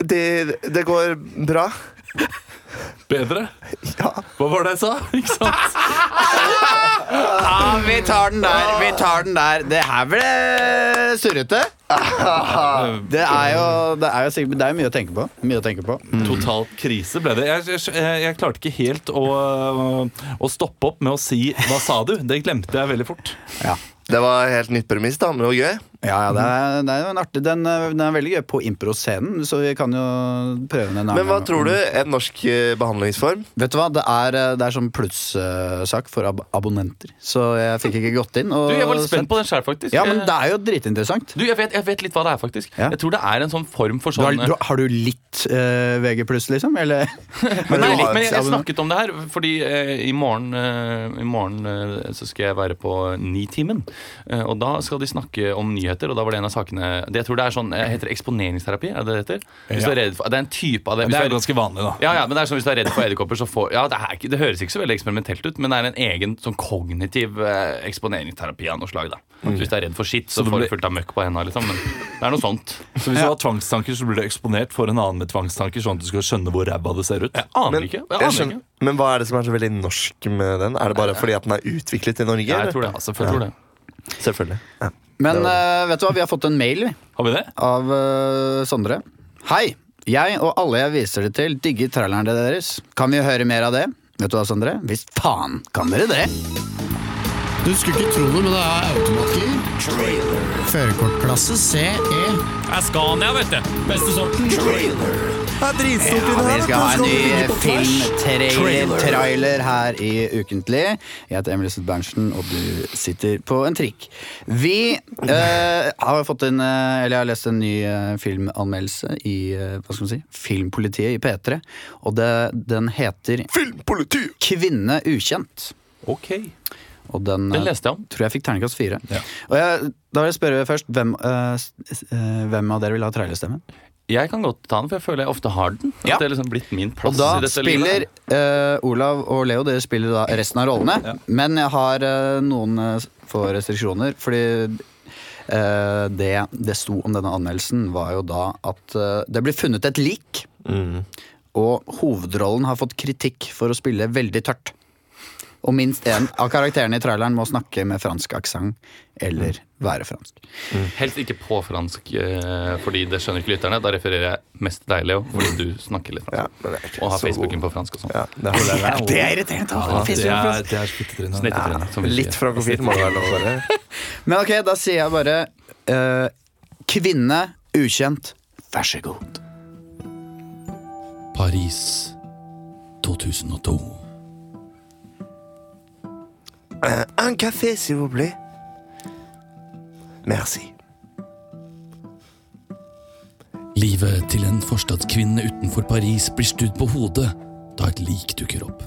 [SPEAKER 5] Det, det går bra.
[SPEAKER 4] Bedre?
[SPEAKER 5] Ja.
[SPEAKER 4] Hva var det jeg sa? [LAUGHS] Ikke sant?
[SPEAKER 1] Ja, Ah, vi tar den der. Vi tar den der. Det her ble surrete. Det er jo, det er jo sikkert Det er mye å tenke på. Mye å tenke på.
[SPEAKER 3] Mm.
[SPEAKER 4] Totalt Mm. krise ble det. Jeg, jeg, jeg klarte ikke helt å, øh, å stoppe opp med å si 'hva sa du?' Det glemte jeg veldig fort.
[SPEAKER 1] Ja.
[SPEAKER 5] Det var helt nytt premiss, da, men det var gøy.
[SPEAKER 1] Ja, ja, det er, det er jo en artig Den, eh, den er veldig gøy på impro-scenen, så vi kan jo prøve den en annen
[SPEAKER 5] Men hva
[SPEAKER 1] gang.
[SPEAKER 5] tror du? En norsk eh, behandlingsform?
[SPEAKER 1] Vet du hva, det er, eh, det er sånn pluss-sak for ab abonnenter, så jeg fikk ikke gått inn. Og,
[SPEAKER 3] Du, Jeg var litt spent på den sjøl, faktisk.
[SPEAKER 1] Ja, men
[SPEAKER 3] Eh,
[SPEAKER 1] det er jo dritinteressant.
[SPEAKER 3] du, jeg vet, jeg vet litt hva det er, faktisk.
[SPEAKER 1] Ja.
[SPEAKER 3] Jeg tror det er en sånn form for
[SPEAKER 1] Du har,
[SPEAKER 3] sånn
[SPEAKER 1] du, har du litt eh, VG pluss, liksom? Eller?
[SPEAKER 5] Men
[SPEAKER 3] Nei,
[SPEAKER 5] du har-
[SPEAKER 3] men jeg, jeg
[SPEAKER 1] abonnement.
[SPEAKER 3] snakket om det her, fordi eh, i morgen, eh, i morgen eh, så skal jeg være på Nitimen. Eh, og da skal de snakke om nyheter, og da var det en av sakene det, Jeg tror det er sånn, eh, heter det eksponeringsterapi? Er det det heter? Hvis du er redd for, det er en type av det. Hvis
[SPEAKER 4] Det
[SPEAKER 3] du
[SPEAKER 4] er ganske vanlig, da.
[SPEAKER 3] ja, ja, men det er sånn Hvis du er redd for edderkopper, så får Ja, det, er ikke, det høres ikke så veldig eksperimentelt ut, men det er en egen sånn kognitiv eh, eksponeringsterapi av noe slag. da Så Hvis du er redd for skitt, så,
[SPEAKER 4] du
[SPEAKER 3] får du
[SPEAKER 4] blir-
[SPEAKER 3] fullt av møkk på henda, liksom. Men det er noe sånt.
[SPEAKER 4] Så hvis du har tvangstanker, så blir du eksponert for en annen med tvangstanker, sånn at du skal skjønne hvor ræva det ser ut.
[SPEAKER 3] Jeg aner
[SPEAKER 5] Men,
[SPEAKER 3] ikke. Jeg
[SPEAKER 5] jeg
[SPEAKER 3] aner
[SPEAKER 5] skjønner,
[SPEAKER 3] ikke.
[SPEAKER 5] men hva er det som er så veldig norsk med den? Er det bare fordi at den er utviklet i Norge?
[SPEAKER 3] Ja,
[SPEAKER 5] eller?
[SPEAKER 3] jeg tror det. Altså, jeg tror det.
[SPEAKER 5] Selvfølgelig. Ja.
[SPEAKER 1] Men eh, vet du hva, vi har fått en mail, vi.
[SPEAKER 4] Har vi det?
[SPEAKER 1] av eh, Sondre. Hei! Jeg og alle jeg viser det til, digger trailerne deres. Kan vi høre mer av det? Vet du hva, Sondre? Visst faen kan dere det!
[SPEAKER 2] Du skulle ikke tro det, men det er automatgir. Førerkortklasse E. CE.
[SPEAKER 3] Scania, vet du. Beste sorten.
[SPEAKER 1] Ja, vi skal ha en ny filmtrailer-trailer her i Ukentlig. Jeg heter Emil Seth Berntsen, og du sitter på en trikk. Vi eh, har fått en eh, Eller jeg har lest en ny eh, filmanmeldelse i eh, hva skal man si, Filmpolitiet i P3, og det, den heter
[SPEAKER 5] Filmpoliti!
[SPEAKER 1] Kvinne ukjent.
[SPEAKER 4] Ok.
[SPEAKER 1] Og den,
[SPEAKER 3] Den
[SPEAKER 1] eh,
[SPEAKER 3] leste jeg om.
[SPEAKER 1] tror jeg fikk terningkast fire. Og jeg, da vil jeg spørre først, hvem, eh, s- eh, hvem av dere vil ha trailerstemme?
[SPEAKER 3] Jeg kan godt ta den, for jeg føler jeg ofte har den. At
[SPEAKER 1] Ja.
[SPEAKER 3] det er liksom blitt min
[SPEAKER 1] Og
[SPEAKER 3] plass
[SPEAKER 1] da
[SPEAKER 3] i dette
[SPEAKER 1] spiller
[SPEAKER 3] livet.
[SPEAKER 1] eh, Olav og Leo, dere spiller da resten av rollene. Men jeg har eh, noen eh, få restriksjoner, fordi eh, det det sto om denne anmeldelsen, var jo da at eh, det ble funnet et lik. Og hovedrollen har fått kritikk for å spille veldig tørt. Og minst én av karakterene i traileren må snakke med fransk aksent eller være fransk.
[SPEAKER 3] Helst ikke på fransk, eh, fordi det skjønner ikke lytterne. Da refererer jeg mest til deg, Leo, fordi du snakker litt
[SPEAKER 5] Ja,
[SPEAKER 3] fransk.
[SPEAKER 5] men det er ikke
[SPEAKER 3] Og har
[SPEAKER 5] så
[SPEAKER 3] Facebooken
[SPEAKER 5] god.
[SPEAKER 3] på fransk og sånn.
[SPEAKER 5] Ja, det holder jeg med.
[SPEAKER 1] det er irriterende.
[SPEAKER 4] Ja, det er, det er spyttetrynet.
[SPEAKER 3] Snittetryne, som vi
[SPEAKER 5] Litt
[SPEAKER 3] sier.
[SPEAKER 5] frankofilt må det være lov å være.
[SPEAKER 1] Men ok, da sier jeg bare eh, Kvinne, ukjent, vær så god.
[SPEAKER 2] Paris 2002.
[SPEAKER 5] [LAUGHS] Un café, s'il vous plaît. Merci.
[SPEAKER 2] Livet til en forstadskvinne utenfor Paris blir snudd på hodet da et lik dukker opp.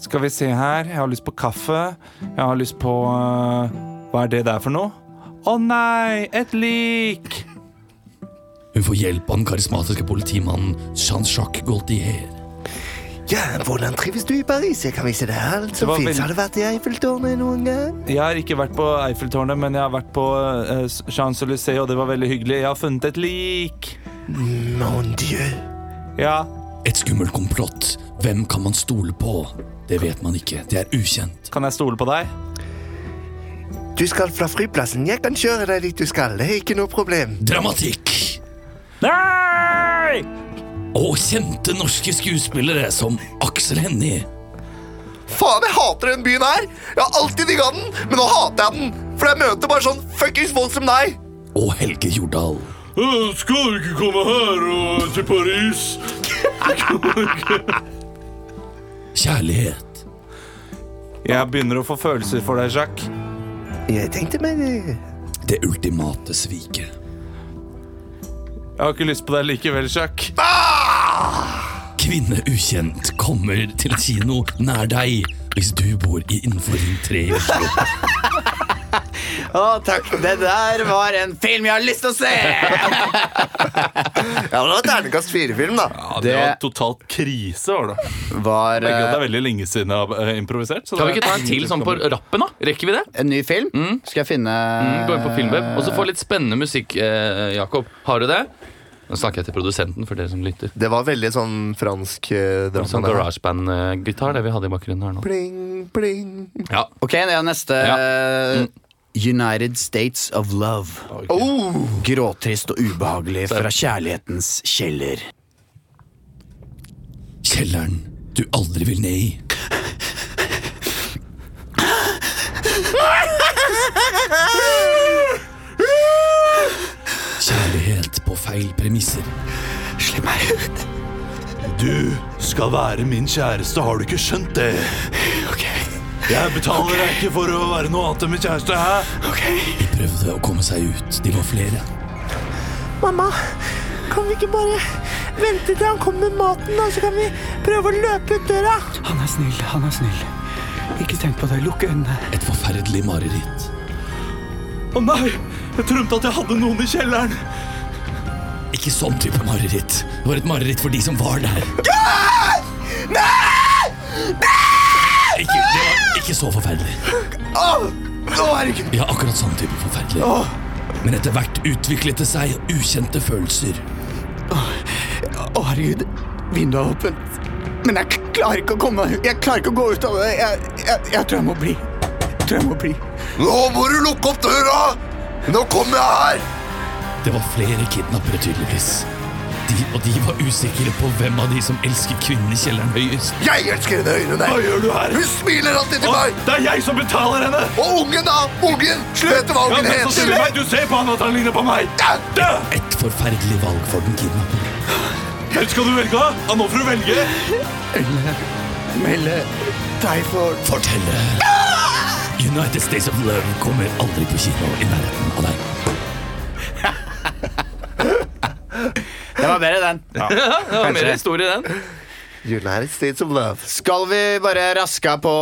[SPEAKER 4] Skal vi se her. Jeg har lyst på kaffe. Jeg har lyst på øh, Hva er det der for noe? Å nei, et lik!
[SPEAKER 2] Hun får hjelp av den karismatiske politimannen Jean-Jacques Gaultier.
[SPEAKER 5] Ja, hvordan trives du i Paris? Jeg kan vise deg alt som
[SPEAKER 4] var
[SPEAKER 5] fins.
[SPEAKER 4] veldig-
[SPEAKER 5] Har du vært i Eiffeltårnet noen gang?
[SPEAKER 4] Jeg har ikke vært på Eiffeltårnet, men jeg har vært på eh, Champs-Élysées, og det var veldig hyggelig. Jeg har funnet et lik.
[SPEAKER 5] Mon dieu.
[SPEAKER 4] Ja.
[SPEAKER 6] Et skummelt komplott. Hvem kan man stole på? Det vet man ikke. Det er ukjent.
[SPEAKER 4] Kan jeg stole på deg?
[SPEAKER 5] Du skal fra flyplassen. Jeg kan kjøre deg dit du skal. Det er ikke noe problem.
[SPEAKER 6] Dramatikk!
[SPEAKER 4] Nei!
[SPEAKER 6] Og kjente norske skuespillere som Aksel Hennie.
[SPEAKER 5] Faen, jeg hater den byen her! Jeg har alltid digga den, men nå hater jeg den. For jeg møter bare sånn fuckings folk som deg.
[SPEAKER 6] Og Helge Jordal.
[SPEAKER 4] Skal du ikke komme her og til Paris?
[SPEAKER 6] Kjærlighet.
[SPEAKER 4] Jeg begynner å få følelser for deg, Jacques.
[SPEAKER 5] Jeg tenkte meg det.
[SPEAKER 6] Det ultimate sviket.
[SPEAKER 4] Jeg har ikke lyst på deg likevel, Jacques.
[SPEAKER 6] Kvinne ukjent kommer til kino nær deg hvis du bor i innenfor Ring 3 i Oslo.
[SPEAKER 1] Å, takk. Det der var en film jeg har lyst til å se!
[SPEAKER 5] Ja, men det var terningkast fire-film, da.
[SPEAKER 4] Ja,
[SPEAKER 1] Det- var
[SPEAKER 4] totalt krise, var det.
[SPEAKER 3] Oh
[SPEAKER 1] Var
[SPEAKER 4] Det
[SPEAKER 1] eh,
[SPEAKER 4] er veldig lenge siden jeg har eh, improvisert. så
[SPEAKER 3] Kan vi
[SPEAKER 4] det
[SPEAKER 3] ikke
[SPEAKER 4] er
[SPEAKER 3] ta en til sånn på rappen, da? Rekker vi det?
[SPEAKER 1] eh, en ny film? Skal jeg finne
[SPEAKER 3] Mm.
[SPEAKER 1] eh,
[SPEAKER 3] Gå inn på Filmweb, og så få litt spennende musikk, eh, Jakob. Har du det? Nå snakker jeg til produsenten for dere som lytter.
[SPEAKER 5] Det var veldig sånn fransk eh, drama.
[SPEAKER 3] Sånn
[SPEAKER 5] der.
[SPEAKER 3] garageband-gitar, det vi hadde i bakgrunnen her nå.
[SPEAKER 5] Bling, bling.
[SPEAKER 3] Ja.
[SPEAKER 1] Ok, det er neste.
[SPEAKER 3] Ja.
[SPEAKER 1] eh, United States of Love. Oh. Gråtrist og ubehagelig fra kjærlighetens kjeller.
[SPEAKER 6] Kjelleren du aldri vil ned i. Kjærlighet på feil premisser.
[SPEAKER 1] Slipp meg ut.
[SPEAKER 4] Du skal være min kjæreste, har du ikke skjønt det?
[SPEAKER 1] Ok,
[SPEAKER 4] Jeg betaler deg ikke for å være noe annet enn min kjæreste, hæ?
[SPEAKER 1] ok.
[SPEAKER 6] De prøvde å komme seg ut. De var flere.
[SPEAKER 7] Mamma, kan vi ikke bare vente til han kommer med maten, og så kan vi prøve å løpe ut døra?
[SPEAKER 2] Han er snill, han er snill. Ikke tenk på det. Lukk øynene.
[SPEAKER 6] Et forferdelig mareritt.
[SPEAKER 4] Å nei, jeg drømte at jeg hadde noen i kjelleren.
[SPEAKER 6] Ikke sånn type mareritt. Det var et mareritt for de som var der. Ikke, det var ikke så forferdelig. Ja, akkurat sånn type forferdelig. Men etter hvert utviklet det seg ukjente følelser.
[SPEAKER 1] Å, herregud. Vinduet er åpent. Men jeg klarer ikke å komme meg ut. Jeg klarer ikke å gå ut av det. Jeg, jeg, jeg tror jeg må bli. Jeg tror jeg må bli.
[SPEAKER 5] Nå må du lukke opp døra! Nå kommer jeg her!
[SPEAKER 6] Det var flere kidnappere, tydeligvis. De, og de var usikre på hvem av de som elsket kvinnen i kjelleren høyest.
[SPEAKER 5] Jeg elsker henne i øynene der.
[SPEAKER 4] Hva gjør du her?
[SPEAKER 5] Hun smiler alltid til meg.
[SPEAKER 4] Det er jeg som betaler henne!
[SPEAKER 5] Og ungen, da! Ungen! Slutt hva
[SPEAKER 4] Ja,
[SPEAKER 5] ungen
[SPEAKER 4] men så sier du
[SPEAKER 5] heter!
[SPEAKER 4] meg, du ser på han at han ligner på meg! Dø!
[SPEAKER 6] Et forferdelig valg for den kidnapperen.
[SPEAKER 4] Hvem skal du velge, da? Ja, nå får du velge.
[SPEAKER 1] Melde deg for
[SPEAKER 6] Fortelle! United States of Love kommer aldri på kino i nærheten av deg.
[SPEAKER 1] Det var bedre, den.
[SPEAKER 3] [LAUGHS] Det var mer historie i den.
[SPEAKER 5] United States of Love.
[SPEAKER 1] Skal vi bare raska på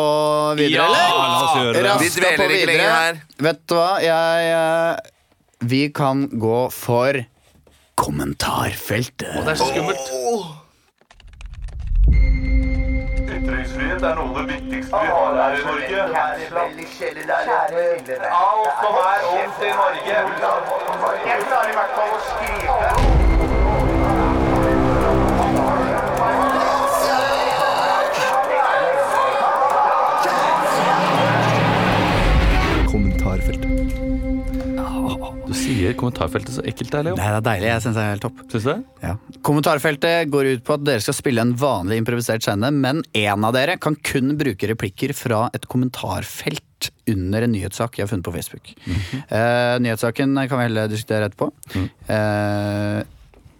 [SPEAKER 1] videre,
[SPEAKER 3] Ja,
[SPEAKER 1] eller?
[SPEAKER 4] la oss gjøre det.
[SPEAKER 5] Vi
[SPEAKER 1] Raska på
[SPEAKER 5] dveler ikke
[SPEAKER 1] videre.
[SPEAKER 5] lenger her.
[SPEAKER 1] Vet du hva? Jeg eh, Vi kan gå for kommentarfeltet.
[SPEAKER 3] Det er så skummelt.
[SPEAKER 8] Ytringsfrihet er noe av det viktigste vi har her i Norge. Alt som er ondt i Norge. Jeg klarer i hvert fall å skrive.
[SPEAKER 3] Du sier kommentarfeltet så ekkelt, det er, Leo.
[SPEAKER 1] Nei, det er deilig. Jeg syns det er helt topp.
[SPEAKER 3] Syns du det?
[SPEAKER 1] Kommentarfeltet går ut på at dere skal spille en vanlig improvisert scene, men én av dere kan kun bruke replikker fra et kommentarfelt under en nyhetssak jeg har funnet på Facebook.
[SPEAKER 3] Mhm.
[SPEAKER 1] Eh, nyhetssaken kan vi heller diskutere etterpå. Eh,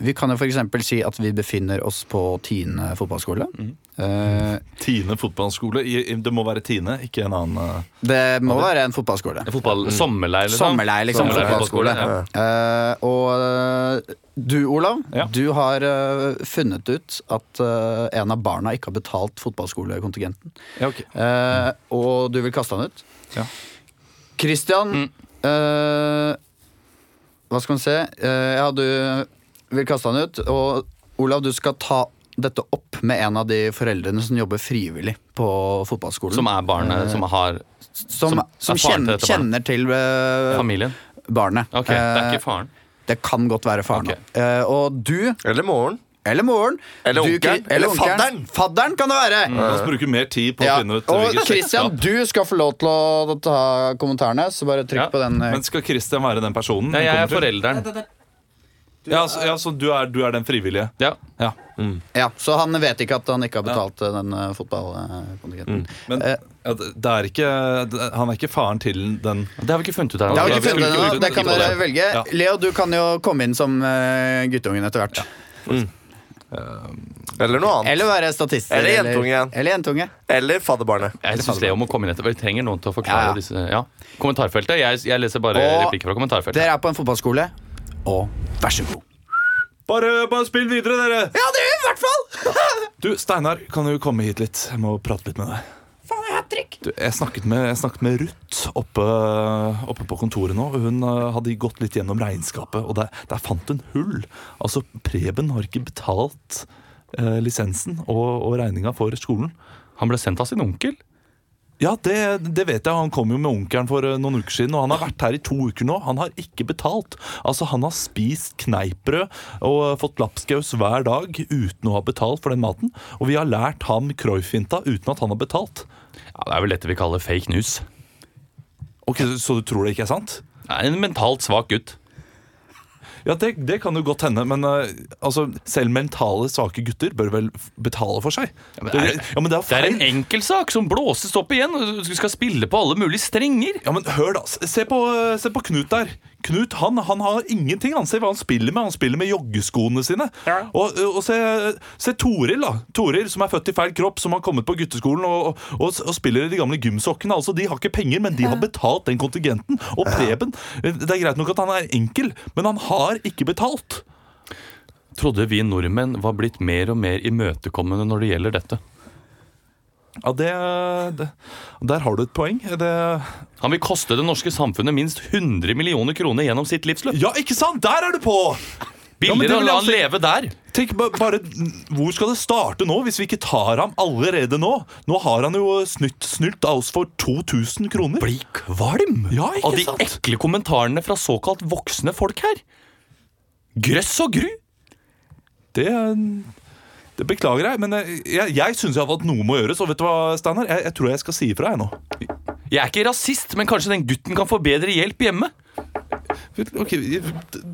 [SPEAKER 1] vi kan jo f.eks. si at vi befinner oss på Tine fotballskole.
[SPEAKER 3] Mhm.
[SPEAKER 1] Eh,
[SPEAKER 4] Tine fotballskole. I- i- Det må være Tine, ikke en annen eh.
[SPEAKER 1] det må være en fotballskole.
[SPEAKER 3] Fotball, sommerleir, liksom.
[SPEAKER 1] Sommerleir, liksom.
[SPEAKER 3] Sommerleir,
[SPEAKER 1] fotballskole.
[SPEAKER 3] fotballskole,
[SPEAKER 1] Eh, og eh, du, Olav,
[SPEAKER 4] Ja.
[SPEAKER 1] du har eh, funnet ut at eh, en av barna ikke har betalt fotballskolekontingenten.
[SPEAKER 4] Ja, ok.
[SPEAKER 1] Eh, og du vil kaste han ut.
[SPEAKER 4] Ja.
[SPEAKER 1] Christian, eh, hva skal man se? Eh, ja, du vil kaste han ut. Og Olav, du skal ta dette opp med en av de foreldrene som jobber frivillig på fotballskolen.
[SPEAKER 3] Som er
[SPEAKER 1] Eh.
[SPEAKER 3] barnet som har
[SPEAKER 1] som,
[SPEAKER 3] som er
[SPEAKER 1] som
[SPEAKER 3] faren
[SPEAKER 1] kjenner,
[SPEAKER 3] til dette
[SPEAKER 1] kjenner
[SPEAKER 3] barnet?
[SPEAKER 1] til eh,
[SPEAKER 3] familien?
[SPEAKER 1] barnet.
[SPEAKER 3] Ok, Det er
[SPEAKER 1] Eh,
[SPEAKER 3] ikke faren.
[SPEAKER 1] Det kan godt være faren.
[SPEAKER 3] Ok.
[SPEAKER 1] Eh, og du,
[SPEAKER 5] Eller moren.
[SPEAKER 1] eller moren
[SPEAKER 5] Eller
[SPEAKER 1] du,
[SPEAKER 5] onkelen,
[SPEAKER 1] Kri-
[SPEAKER 5] eller
[SPEAKER 1] onkelen.
[SPEAKER 5] fadderen.
[SPEAKER 1] Fadderen kan det være!
[SPEAKER 3] Mm.
[SPEAKER 4] La oss bruke mer tid på å
[SPEAKER 1] Mm. Ja.
[SPEAKER 4] finne ut eh,
[SPEAKER 1] Og
[SPEAKER 4] hvilket
[SPEAKER 1] Christian,
[SPEAKER 4] slektskap.
[SPEAKER 1] du skal få lov til å ta kommentarene, så bare trykk
[SPEAKER 3] Ja,
[SPEAKER 1] på den. eh,
[SPEAKER 4] Men skal Christian være den personen?
[SPEAKER 3] Ja,
[SPEAKER 4] han
[SPEAKER 3] jeg er
[SPEAKER 4] kommer til?
[SPEAKER 3] forelderen.
[SPEAKER 4] Ja, så, ja, så du, er, du er den frivillige?
[SPEAKER 3] Ja.
[SPEAKER 4] Ja.
[SPEAKER 1] Ja, Så han vet ikke at han ikke har betalt eh, den eh, fotballkontingenten.
[SPEAKER 3] Mm.
[SPEAKER 4] Men
[SPEAKER 1] Eh.
[SPEAKER 4] ja, det det er ikke, det- han er ikke faren til den
[SPEAKER 3] Det har vi ikke funnet ut her.
[SPEAKER 1] Det har vi
[SPEAKER 4] Ja,
[SPEAKER 1] ikke
[SPEAKER 4] vi
[SPEAKER 1] funnet
[SPEAKER 4] skulle
[SPEAKER 1] ennå.
[SPEAKER 4] ikke
[SPEAKER 1] Det
[SPEAKER 4] bruke
[SPEAKER 1] kan
[SPEAKER 4] tid på
[SPEAKER 1] dere
[SPEAKER 4] det.
[SPEAKER 1] velge.
[SPEAKER 4] Ja.
[SPEAKER 1] Leo, du kan jo komme inn som eh, guttungen etter hvert.
[SPEAKER 5] Eller noe annet.
[SPEAKER 1] Eller være statist.
[SPEAKER 5] Eller jentunge igjen.
[SPEAKER 1] Eller jentunge.
[SPEAKER 5] Eller fadderbarnet.
[SPEAKER 3] Jeg synes Leo må komme inn etter. Vi trenger noen til å
[SPEAKER 1] Ja,
[SPEAKER 3] forklare
[SPEAKER 1] ja.
[SPEAKER 3] disse ja. Kommentarfeltet. Jeg, jeg leser bare
[SPEAKER 1] Og
[SPEAKER 3] replikker fra kommentarfeltet.
[SPEAKER 1] Dere er på en fotballskole, og vær så god.
[SPEAKER 4] Bare, bare spill videre, dere!
[SPEAKER 1] Ja, det gjør vi i hvert fall!
[SPEAKER 4] Du, Steinar, kan du komme hit litt? Jeg må prate litt med deg. Du, jeg snakket med, jeg snakket med Ruth oppe, oppe på kontoret nå. og Hun eh, hadde gått litt gjennom regnskapet, og der, der fant hun hull. Altså, Preben har ikke betalt eh, lisensen og, og regninga for skolen.
[SPEAKER 3] Han ble sendt av sin onkel.
[SPEAKER 4] Ja, det, det vet jeg. Han kom jo med onkelen for eh, noen uker siden, og han har vært her i to uker nå. Han har ikke betalt. Altså, han har spist kneippbrød og eh, fått lapskaus hver dag uten å ha betalt for den maten. Og vi har lært ham Croif-finta uten at han har betalt.
[SPEAKER 3] Ja, Det er vel dette vi kaller fake news.
[SPEAKER 4] Ok, så- Så du tror det ikke er sant?
[SPEAKER 3] Nei, en mentalt svak gutt.
[SPEAKER 4] Ja, det, det kan jo godt hende, men eh, altså, selv mentale svake gutter bør vel f- betale for seg? Ja,
[SPEAKER 3] men er-
[SPEAKER 4] ja, men det er
[SPEAKER 3] Det er
[SPEAKER 4] feil.
[SPEAKER 3] en enkeltsak som blåses opp igjen. og Du skal spille på alle mulige strenger.
[SPEAKER 4] Ja, men hør da, se på, se på Knut der Knut, han, han har ingenting Han ser hva han spiller med, han spiller med joggeskoene sine Og, og se, se Toril da Toril som er født i feil kropp Som har kommet på gutteskolen Og, og, og spiller i de gamle gymsokkene Altså, de har ikke penger, men de har betalt den kontingenten Og Preben, det er greit nok at han er enkel Men han har ikke betalt
[SPEAKER 3] Trodde vi nordmenn var blitt mer og mer imøtekommende når det gjelder dette.
[SPEAKER 4] Ja, det, det Der har du et poeng det,
[SPEAKER 3] Han vil koste det norske samfunnet minst 100 millioner kroner gjennom sitt livsløp.
[SPEAKER 4] Ja, ikke sant? Der er du på! Ja, men det
[SPEAKER 3] Billigere å
[SPEAKER 4] vil
[SPEAKER 3] la
[SPEAKER 4] jeg
[SPEAKER 3] han leve der.
[SPEAKER 4] Tenk ba- bare, Hvor skal det starte nå, hvis vi ikke tar ham allerede nå? Nå har han jo snytt, snylt av oss for 2000 kroner.
[SPEAKER 3] Bli kvalm
[SPEAKER 4] Ja, ikke
[SPEAKER 3] av de
[SPEAKER 4] sant?
[SPEAKER 3] ekle kommentarene fra såkalt voksne folk her. Grøss og gru.
[SPEAKER 4] Det, det beklager jeg, men eh, jeg, jeg syns at noe må gjøres. Og vet du hva, Steinar? Jeg, jeg tror jeg skal si ifra, jeg nå.
[SPEAKER 3] Jeg er ikke rasist, men kanskje den gutten kan få bedre hjelp hjemme?
[SPEAKER 4] Ok,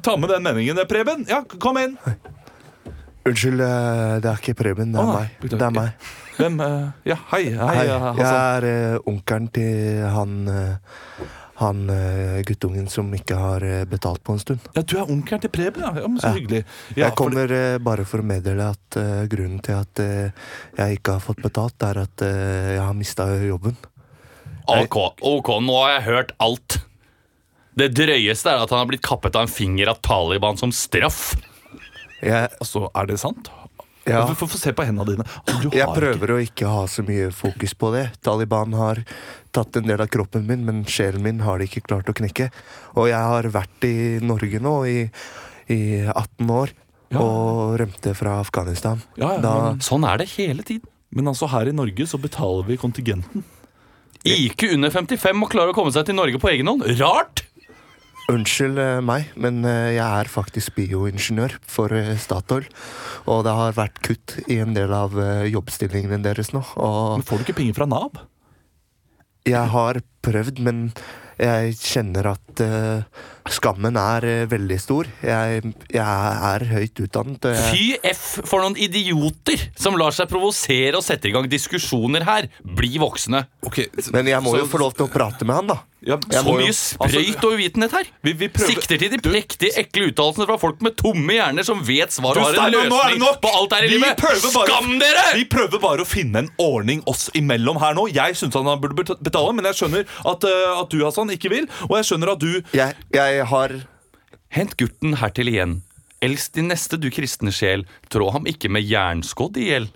[SPEAKER 4] Ta med den meningen, eh, Preben. Ja, kom inn.
[SPEAKER 5] Unnskyld, eh, det er ikke Preben. Det
[SPEAKER 4] Å,
[SPEAKER 5] er
[SPEAKER 4] nei,
[SPEAKER 5] meg.
[SPEAKER 4] beklager.
[SPEAKER 5] Det er meg.
[SPEAKER 4] Hvem eh, Ja, hei. Hei,
[SPEAKER 5] Hei,
[SPEAKER 4] eh,
[SPEAKER 5] jeg
[SPEAKER 4] Hassan.
[SPEAKER 5] er eh, onkelen til han eh, han eh, guttungen som ikke har eh, betalt på en stund.
[SPEAKER 4] Ja, du er onkelen til Preben, ja. ja men så
[SPEAKER 5] Ja.
[SPEAKER 4] hyggelig. Ja,
[SPEAKER 5] Jeg kommer eh, bare for å meddele at eh, grunnen til at eh, jeg ikke har fått betalt, er at eh, jeg har mista jobben.
[SPEAKER 3] Ok, ok, nå har jeg hørt alt. Det drøyeste er at han har blitt kappet av en finger av Taliban som straff.
[SPEAKER 5] Jeg,
[SPEAKER 4] for- Altså, er det sant?
[SPEAKER 5] ja,
[SPEAKER 4] Få få se på hendene dine. Altså, du
[SPEAKER 5] jeg
[SPEAKER 4] har ikke-
[SPEAKER 5] prøver å ikke ha så mye fokus på det. Taliban har tatt en del av kroppen min, men sjelen min har de ikke klart å knekke. Og jeg har vært i Norge nå i, i 18 år
[SPEAKER 4] Ja.
[SPEAKER 5] og rømte fra Afghanistan.
[SPEAKER 4] Ja, ja,
[SPEAKER 5] da,
[SPEAKER 4] men-
[SPEAKER 3] Sånn er det hele tiden.
[SPEAKER 4] Men altså, her i Norge så betaler vi kontingenten.
[SPEAKER 3] IQ under 55 må klare å komme seg til Norge på egen hånd. Rart!
[SPEAKER 5] Unnskyld eh, meg, men eh, jeg er faktisk bioingeniør for eh, Statoil. Og det har vært kutt i en del av eh, jobbstillingene deres nå. Og
[SPEAKER 4] Men får du ikke penger fra Nav?
[SPEAKER 5] jeg har prøvd, men jeg kjenner at eh, skammen er eh, veldig stor. Jeg, jeg er høyt utdannet. og jeg-
[SPEAKER 3] Fy F for noen idioter som lar seg provosere og setter i gang diskusjoner her. Bli voksne.
[SPEAKER 5] Men jeg må jo
[SPEAKER 4] så-
[SPEAKER 5] få lov til å prate med han, da.
[SPEAKER 4] Ja, Altså,
[SPEAKER 5] Jeg
[SPEAKER 3] Så
[SPEAKER 5] må
[SPEAKER 3] mye
[SPEAKER 5] jo-
[SPEAKER 3] sprøyt og uvitenhet her.
[SPEAKER 4] Vi- vi prøver-
[SPEAKER 3] Sikter til de prektige, ekle uttalelsene fra folk med tomme hjerner som vet svar
[SPEAKER 4] Du,
[SPEAKER 3] og har en
[SPEAKER 4] Steinar, nå er det
[SPEAKER 3] løsning
[SPEAKER 4] nok!
[SPEAKER 3] på alt her i
[SPEAKER 4] Vi
[SPEAKER 3] livet.
[SPEAKER 4] prøver bare-
[SPEAKER 3] Skam dere!
[SPEAKER 4] Vi prøver bare å finne en ordning oss imellom her nå. Jeg syns han burde bet- betale, men jeg skjønner at, eh, at du, Hassan, ikke vil. Og jeg skjønner at du
[SPEAKER 5] Jeg, jeg har
[SPEAKER 3] Hent gutten hertil igjen. Elsk din neste, du kristne sjel. Trå ham ikke med jernskodd i hjel.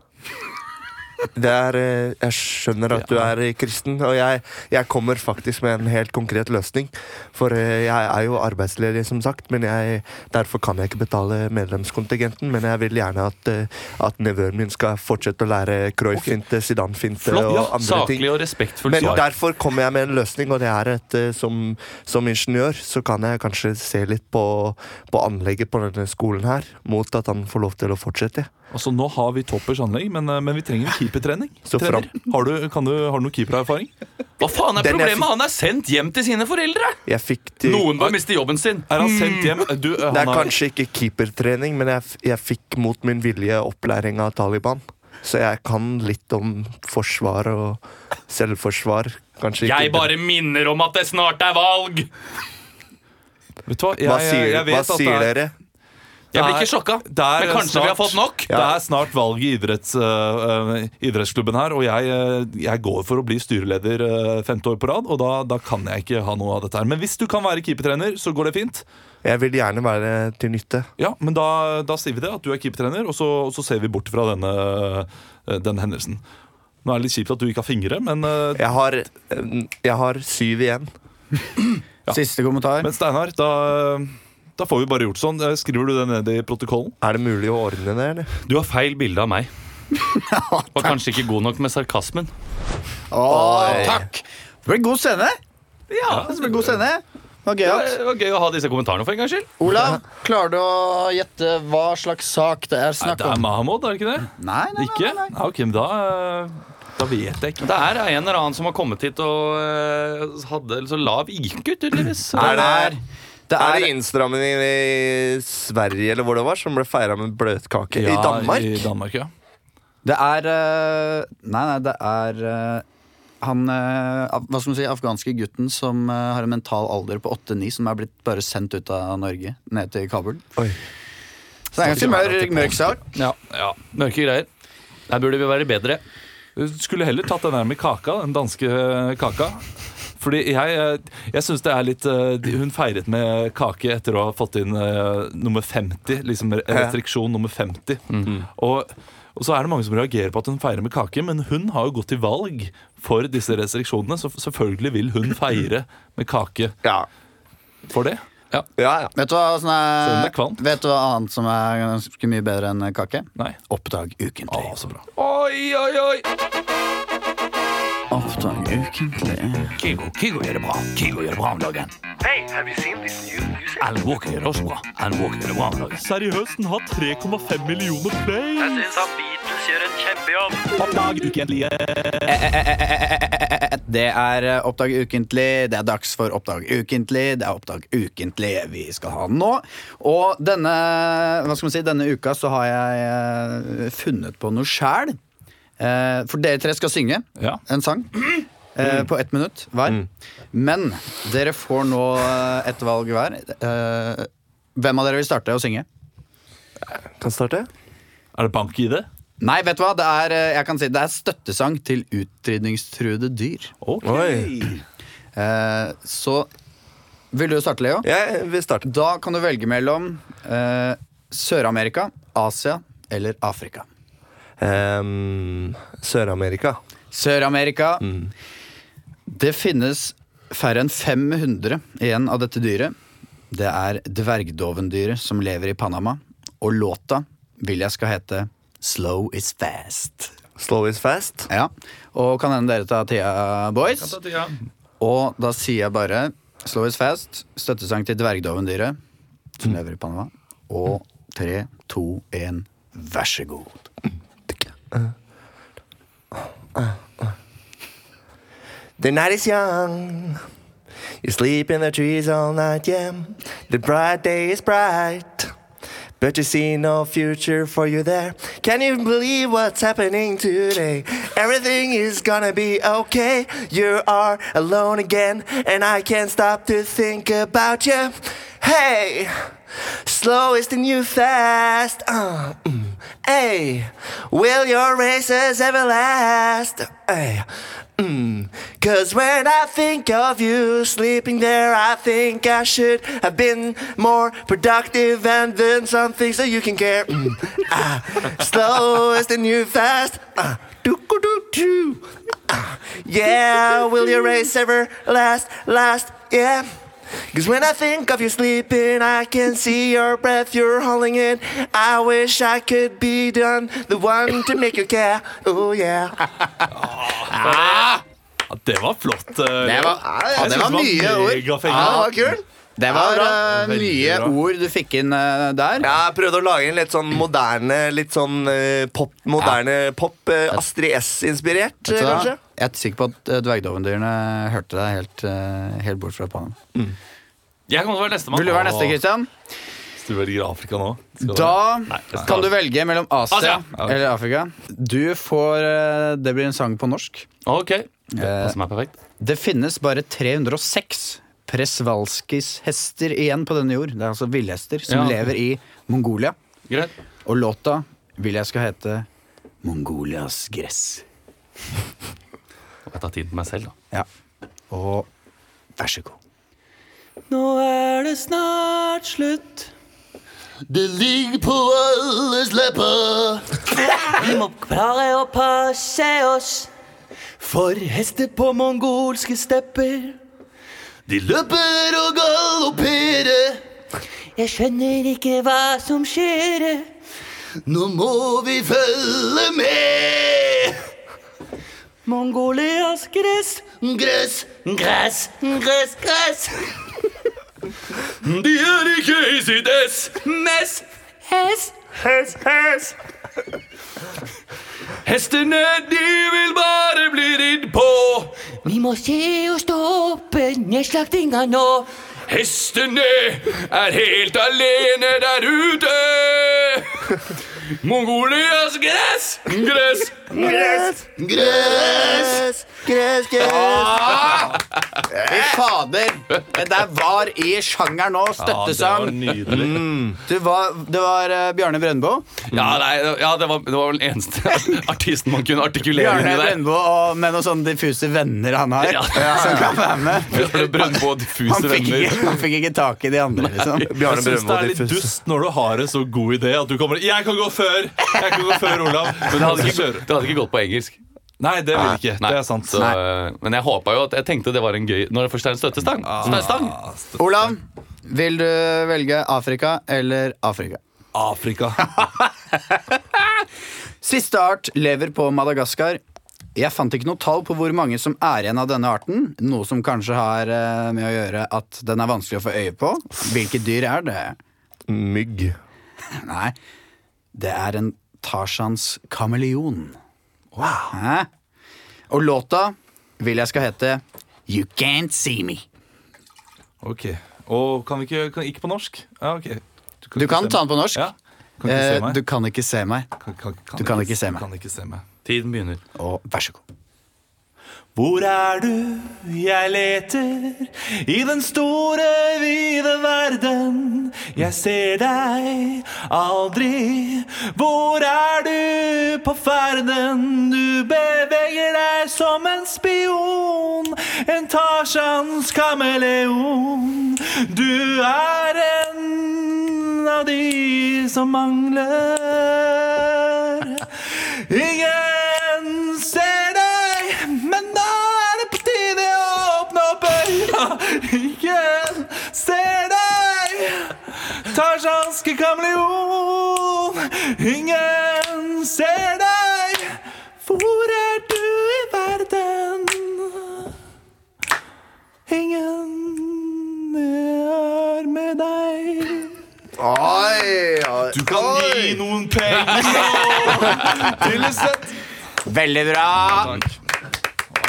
[SPEAKER 5] det er, eh, jeg skjønner at du er eh, kristen, og jeg, jeg kommer faktisk med en helt konkret løsning. For eh, jeg er jo arbeidsledig, som sagt, men jeg, derfor kan jeg ikke betale medlemskontingenten. Men jeg vil gjerne at, eh, at nevøen min skal fortsette å lære Croy-finte, Zidane-finte
[SPEAKER 3] Flott,
[SPEAKER 5] og
[SPEAKER 3] ja,
[SPEAKER 5] andre ting.
[SPEAKER 3] saklig og respektfullt
[SPEAKER 5] Men
[SPEAKER 3] svar.
[SPEAKER 5] derfor kommer jeg med en løsning, og det er at eh, som, som ingeniør så kan jeg kanskje se litt på, på anlegget på denne skolen her, mot at han får lov til å fortsette.
[SPEAKER 4] Altså, Nå har vi toppers anlegg, men, eh, men vi trenger en keepertrening.
[SPEAKER 5] Så
[SPEAKER 4] Trener. Har du, kan du, har du noe keepererfaring?
[SPEAKER 3] Hva faen er
[SPEAKER 5] Den jeg
[SPEAKER 3] problemet?
[SPEAKER 5] fikk-
[SPEAKER 3] Han er sendt hjem til sine foreldre!
[SPEAKER 5] Jeg fikk til
[SPEAKER 3] Noen bør miste jobben sin.
[SPEAKER 4] Er han sendt hjem? Du, eh, han
[SPEAKER 5] Det er
[SPEAKER 4] har-
[SPEAKER 5] kanskje ikke keepertrening, men jeg, f- jeg fikk mot min vilje opplæring av Taliban. Så jeg kan litt om forsvar og selvforsvar. Kanskje ikke
[SPEAKER 3] Jeg bare minner om at det snart er valg!
[SPEAKER 4] Vet du hva, jeg,
[SPEAKER 5] Hva sier,
[SPEAKER 4] jeg vet
[SPEAKER 5] hva
[SPEAKER 4] at det
[SPEAKER 5] sier
[SPEAKER 4] er-
[SPEAKER 5] dere?
[SPEAKER 3] Jeg blir
[SPEAKER 4] Det er-
[SPEAKER 3] ikke sjokka.
[SPEAKER 4] det er
[SPEAKER 3] Men kanskje vi har fått nok?
[SPEAKER 4] Det er snart valg i idretts, øh, øh, idrettsklubben her, og jeg, øh, jeg går for å bli styreleder øh, femte år på rad, og da, da kan jeg ikke ha noe av dette her. Men hvis du kan være keepertrener, så går det fint.
[SPEAKER 5] Jeg vil gjerne være til nytte.
[SPEAKER 4] Ja, men da, da sier vi det, at du er keepertrener, og så, og så ser vi bort fra denne, øh, denne hendelsen. Nå er det litt kjipt at du ikke har fingre, men, øh,
[SPEAKER 5] Jeg har, eh, jeg har syv igjen.
[SPEAKER 1] Siste kommentar.
[SPEAKER 4] men Steinar, da, øh, da får vi bare gjort sånn. Eh, Skriver du det ned i protokollen?
[SPEAKER 5] Er det mulig å ordne det, eller?
[SPEAKER 3] Du har feil bilde av meg. Var kanskje ikke god nok med sarkasmen.
[SPEAKER 1] Å, takk! Det ble god sende. Ja, det ble god sende. Det var gøyalt.
[SPEAKER 3] Det var gøy å ha disse kommentarene for en gangs skyld.
[SPEAKER 1] Olav, klarer du å gjette hva slags sak det er
[SPEAKER 4] Nei,
[SPEAKER 1] snakk
[SPEAKER 4] det er
[SPEAKER 1] om?
[SPEAKER 4] Mahamud, er det ikke det?
[SPEAKER 1] Nei, nei, nei.
[SPEAKER 4] Ikke? Ja, ok, men da, øh, da vet jeg ikke.
[SPEAKER 3] Det er en eller annen som har kommet hit og eh, hadde så lav IQ, tydeligvis.
[SPEAKER 5] Er det,
[SPEAKER 1] Det
[SPEAKER 5] er
[SPEAKER 1] er,
[SPEAKER 5] det innstrammingen i Sverige eller hvor det var, som ble feira med bløtkake? I
[SPEAKER 4] Ja,
[SPEAKER 5] Danmark?
[SPEAKER 4] I Danmark, ja.
[SPEAKER 1] det er eh, Nei, nei, det er eh, han eh, af- hva skal man si, afghanske gutten som eh, har en mental alder på 8-9, som er blitt bare sendt ut av Norge, ned til Kabul.
[SPEAKER 5] Oi.
[SPEAKER 1] Så det er ganske mørk, mørk sak.
[SPEAKER 3] Ja, Mørke greier. Der burde vi være bedre.
[SPEAKER 4] Du skulle heller tatt den der med kaka, den danske eh, kaka. Fordi jeg, eh, jeg syns det er litt eh, de- Hun feiret med kake etter å ha fått inn eh, nummer 50, liksom re- restriksjon nummer 50. Og, og så er det mange som reagerer på at hun feirer med kake, men hun har jo gått til valg for disse restriksjonene, så selvfølgelig vil hun feire med kake
[SPEAKER 5] Ja.
[SPEAKER 4] for det.
[SPEAKER 5] Ja, ja.
[SPEAKER 1] Vet du hva, som
[SPEAKER 4] Selv om det
[SPEAKER 1] er,
[SPEAKER 4] er kvalmt.
[SPEAKER 1] vet du hva annet som er ganske mye bedre enn kake?
[SPEAKER 4] Nei.
[SPEAKER 1] Oppdag ukentlig.
[SPEAKER 4] Å, så bra.
[SPEAKER 3] Oi, oi, oi!
[SPEAKER 1] Oppdag ukentlig.
[SPEAKER 8] Kygo, Kygo gjør det bra. Kygo gjør det bra om dagen. Alan Walker gjør det også bra. Alan Walker gjør det bra om dagen.
[SPEAKER 4] Seriøst, den har 3,5 millioner play!
[SPEAKER 1] Det er eh, Oppdag ukentlig, det er dags for Oppdag ukentlig, det er Oppdag ukentlig vi skal ha nå. Og denne, hva skal man si, denne uka så har jeg eh, funnet på noe sjæl. Eh, For dere tre skal synge
[SPEAKER 4] Ja.
[SPEAKER 1] en sang eh, på ett minutt hver. Men dere får nå eh, ett valg hver. Eh, Hvem av dere vil starte å synge?
[SPEAKER 5] Kan starte?
[SPEAKER 4] Er det bank-ID?
[SPEAKER 1] Nei, vet du hva? Det er, eh, jeg kan si, det er støttesang til utrydningstruede dyr.
[SPEAKER 4] Ok.
[SPEAKER 5] Oi.
[SPEAKER 1] Eh, Så vil du starte, Leo?
[SPEAKER 5] Jeg vil starte.
[SPEAKER 1] Da kan du velge mellom eh, Sør-Amerika, Asia eller Afrika.
[SPEAKER 5] Ehm, Sør-Amerika.
[SPEAKER 1] Sør-Amerika. Det finnes færre enn 500 igjen av dette dyret. Det er dvergdovendyret som lever i Panama. Og låta vil jeg skal hete Slow is fast.
[SPEAKER 5] Slow is fast.
[SPEAKER 1] Ja, Og kan hende dere tar Tia Boys. Og da sier jeg bare Slow is fast, støttesang til dvergdovendyret som lever i Panama. Og tre, to, én, vær så god.
[SPEAKER 5] The night is young. You sleep in the trees all night, yeah. The bright day is bright. But you see no future for you there. Can you believe what's happening today? Everything is gonna be okay. You are alone again, and I can't stop to think about you. Hey, slow is the new fast. Uh, mm. Hey, will your races ever last? Hey, mm. Cause when I think of you sleeping there, I think I should have been more productive and done something so you can care. Mm. Ah, slow is the new fast. Ah, doo-goo, two. Ah, Yeah, will your race ever last, last, yeah? Cause when I think of you sleeping, I can see your breath, you're holding in. I wish I could be done, the one to make you care. Oh yeah.
[SPEAKER 4] Ja, det var flott. eh,
[SPEAKER 9] Det var, ja, det var mye ord.
[SPEAKER 4] megafengende.
[SPEAKER 9] Ja,
[SPEAKER 5] det var kult.
[SPEAKER 1] Det var
[SPEAKER 5] Ja,
[SPEAKER 1] eh, nye
[SPEAKER 4] bra.
[SPEAKER 1] ord du fikk inn eh, der.
[SPEAKER 5] Ja, jeg prøvde å lage en litt sånn moderne, litt sånn eh, pop, moderne pop. eh, Astrid S-inspirert, eh,
[SPEAKER 1] Så da-
[SPEAKER 5] kanskje?
[SPEAKER 1] jeg er sikker på at eh, dvergdovendyrene hørte deg helt, eh, helt bort fra pannen.
[SPEAKER 3] Jeg kommer til å være nestemann.
[SPEAKER 1] Vil du være neste, Christian?
[SPEAKER 4] Hvis du velger Afrika nå skal
[SPEAKER 1] Da
[SPEAKER 4] Nei, jeg skal-
[SPEAKER 1] kan du velge mellom Asia,
[SPEAKER 3] Asia!
[SPEAKER 1] eller Afrika. Du får eh, Det blir en sang på norsk.
[SPEAKER 3] Ok. Det passer meg perfekt.
[SPEAKER 1] Det finnes bare 306 Presvalskis hester igjen på denne jord. Det er altså villhester som
[SPEAKER 3] Ja.
[SPEAKER 1] lever i Mongolia.
[SPEAKER 3] Greit.
[SPEAKER 1] Og låta vil jeg skal hete Mongolias gress.
[SPEAKER 3] Jeg tar tid til meg selv, da.
[SPEAKER 1] Ja. Og vær så god.
[SPEAKER 10] Nå er det snart slutt.
[SPEAKER 9] Det ligger på alles lepper.
[SPEAKER 10] Vi må klare å passe oss. For hester på mongolske stepper
[SPEAKER 9] De løper og galopperer.
[SPEAKER 10] Jeg skjønner ikke hva som skjer.
[SPEAKER 9] Nå må vi følge med.
[SPEAKER 10] Mongolias gress,
[SPEAKER 9] Gress
[SPEAKER 10] gress, gress, gress.
[SPEAKER 3] De er ikke i sitt ess!
[SPEAKER 10] Mess, hess.
[SPEAKER 3] Hestene, de vil bare bli ridd på.
[SPEAKER 10] Vi må se å stoppe nedslaktinga nå.
[SPEAKER 3] Hestene er helt alene der ute. Mongolias gress! Gress!
[SPEAKER 5] Gress, gress, gress.
[SPEAKER 1] Fy fader! Det der var i sjangeren nå.
[SPEAKER 4] Ja, det var
[SPEAKER 1] Støttesang.
[SPEAKER 4] nydelig.
[SPEAKER 1] Du var, det var eh, Bjarne Brøndbo.
[SPEAKER 3] Ja, nei, ja det, var, det var vel den eneste [LAUGHS] artisten man kunne artikulere
[SPEAKER 1] Bjarne
[SPEAKER 3] inni der.
[SPEAKER 1] Brøndbo og, med noen sånne diffuse venner han har. [LAUGHS] Som kan være med.
[SPEAKER 3] Brønnbo og diffuse
[SPEAKER 1] Han fikk,
[SPEAKER 3] venner.
[SPEAKER 1] ikke, han fikk ikke tak i de andre, liksom.
[SPEAKER 5] Bjarne
[SPEAKER 4] Jeg syns det
[SPEAKER 5] Brøndbo
[SPEAKER 4] er litt
[SPEAKER 5] diffus.
[SPEAKER 4] dust når du har en så god idé at du kommer Jeg kan gå før! Jeg kan gå før, Olav.
[SPEAKER 3] Men det hadde,
[SPEAKER 4] Altså,
[SPEAKER 3] ikke,
[SPEAKER 4] kjøre.
[SPEAKER 3] det hadde ikke gått på engelsk.
[SPEAKER 4] Nei, det vil jeg ikke.
[SPEAKER 3] Nei,
[SPEAKER 4] Det er sant.
[SPEAKER 3] Så, men jeg håpa jo at Jeg tenkte det var en gøy Når det først er en støttestang.
[SPEAKER 4] Ah.
[SPEAKER 3] Støttestang.
[SPEAKER 1] Olav, vil du velge Afrika eller Afrika?
[SPEAKER 4] Afrika.
[SPEAKER 1] [LAUGHS] Siste art lever på Madagaskar. Jeg fant ikke noe tall på hvor mange som er igjen av denne arten, noe som kanskje har eh, med å gjøre at den er vanskelig å få øye på. Hvilke dyr er det?
[SPEAKER 5] Mygg.
[SPEAKER 1] [LAUGHS] Nei, det er en Tarzans kameleon. Hæ? Og låta vil jeg skal hete You Can't See Me.
[SPEAKER 4] Ok. Og kan vi ikke kan, Ikke på norsk? Ja, ok.
[SPEAKER 1] Du
[SPEAKER 4] ikke
[SPEAKER 1] kan
[SPEAKER 4] se
[SPEAKER 1] ta den
[SPEAKER 4] meg.
[SPEAKER 1] på norsk.
[SPEAKER 4] Ja. Kan ikke se
[SPEAKER 1] Eh,
[SPEAKER 4] meg.
[SPEAKER 1] du kan ikke se meg.
[SPEAKER 4] kan, kan, kan
[SPEAKER 1] du kan ikke se meg.
[SPEAKER 4] Kan ikke se meg.
[SPEAKER 3] Tiden begynner.
[SPEAKER 1] Og vær så god.
[SPEAKER 4] Hvor er du? Jeg leter i den store, vide verden. Jeg ser deg aldri. Hvor er du på ferden? Du beveger deg som en spion, en Tarzans kameleon. Du er en av de som mangler. Ingen ser deg, men da er det på tide å åpne opp øya. Ingen ser deg, tarzanske kameleon. Ingen ser deg, hvor er du i verden? Ingen er med deg.
[SPEAKER 5] Oi, oi.
[SPEAKER 4] Du kan gi noen penger til et sett.
[SPEAKER 1] Veldig bra!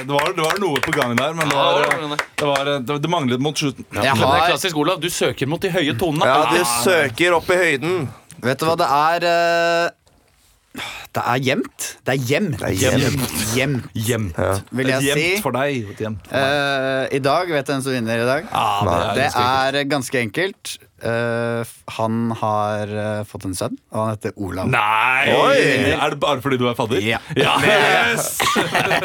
[SPEAKER 4] Det var, det var noe på gangen der, men det,
[SPEAKER 3] Ja, det
[SPEAKER 4] var,
[SPEAKER 3] var noe.
[SPEAKER 4] det, var, det, det manglet mot slutten.
[SPEAKER 1] Jeg
[SPEAKER 3] Men det er
[SPEAKER 1] har
[SPEAKER 3] klassisk Olav. Du søker mot de høye tonene.
[SPEAKER 5] Ja, du søker opp i høyden.
[SPEAKER 1] Vet du hva det er? eh, Det er gjemt. Det er gjemt. Det
[SPEAKER 5] er
[SPEAKER 1] Gjemt,
[SPEAKER 4] Gjemt.
[SPEAKER 1] vil jeg
[SPEAKER 4] Gjemt
[SPEAKER 1] si.
[SPEAKER 4] for deg. og Gjemt.
[SPEAKER 1] Eh, I dag, vet du hvem som vinner i dag?
[SPEAKER 4] Ah,
[SPEAKER 1] det
[SPEAKER 4] ganske ekkelt.
[SPEAKER 1] er ganske enkelt. Eh, f- han har eh, fått en sønn, og han heter Olav.
[SPEAKER 4] Nei!
[SPEAKER 5] Oi!
[SPEAKER 4] Er det bare fordi du er fadder?
[SPEAKER 1] Ja.
[SPEAKER 4] Yes!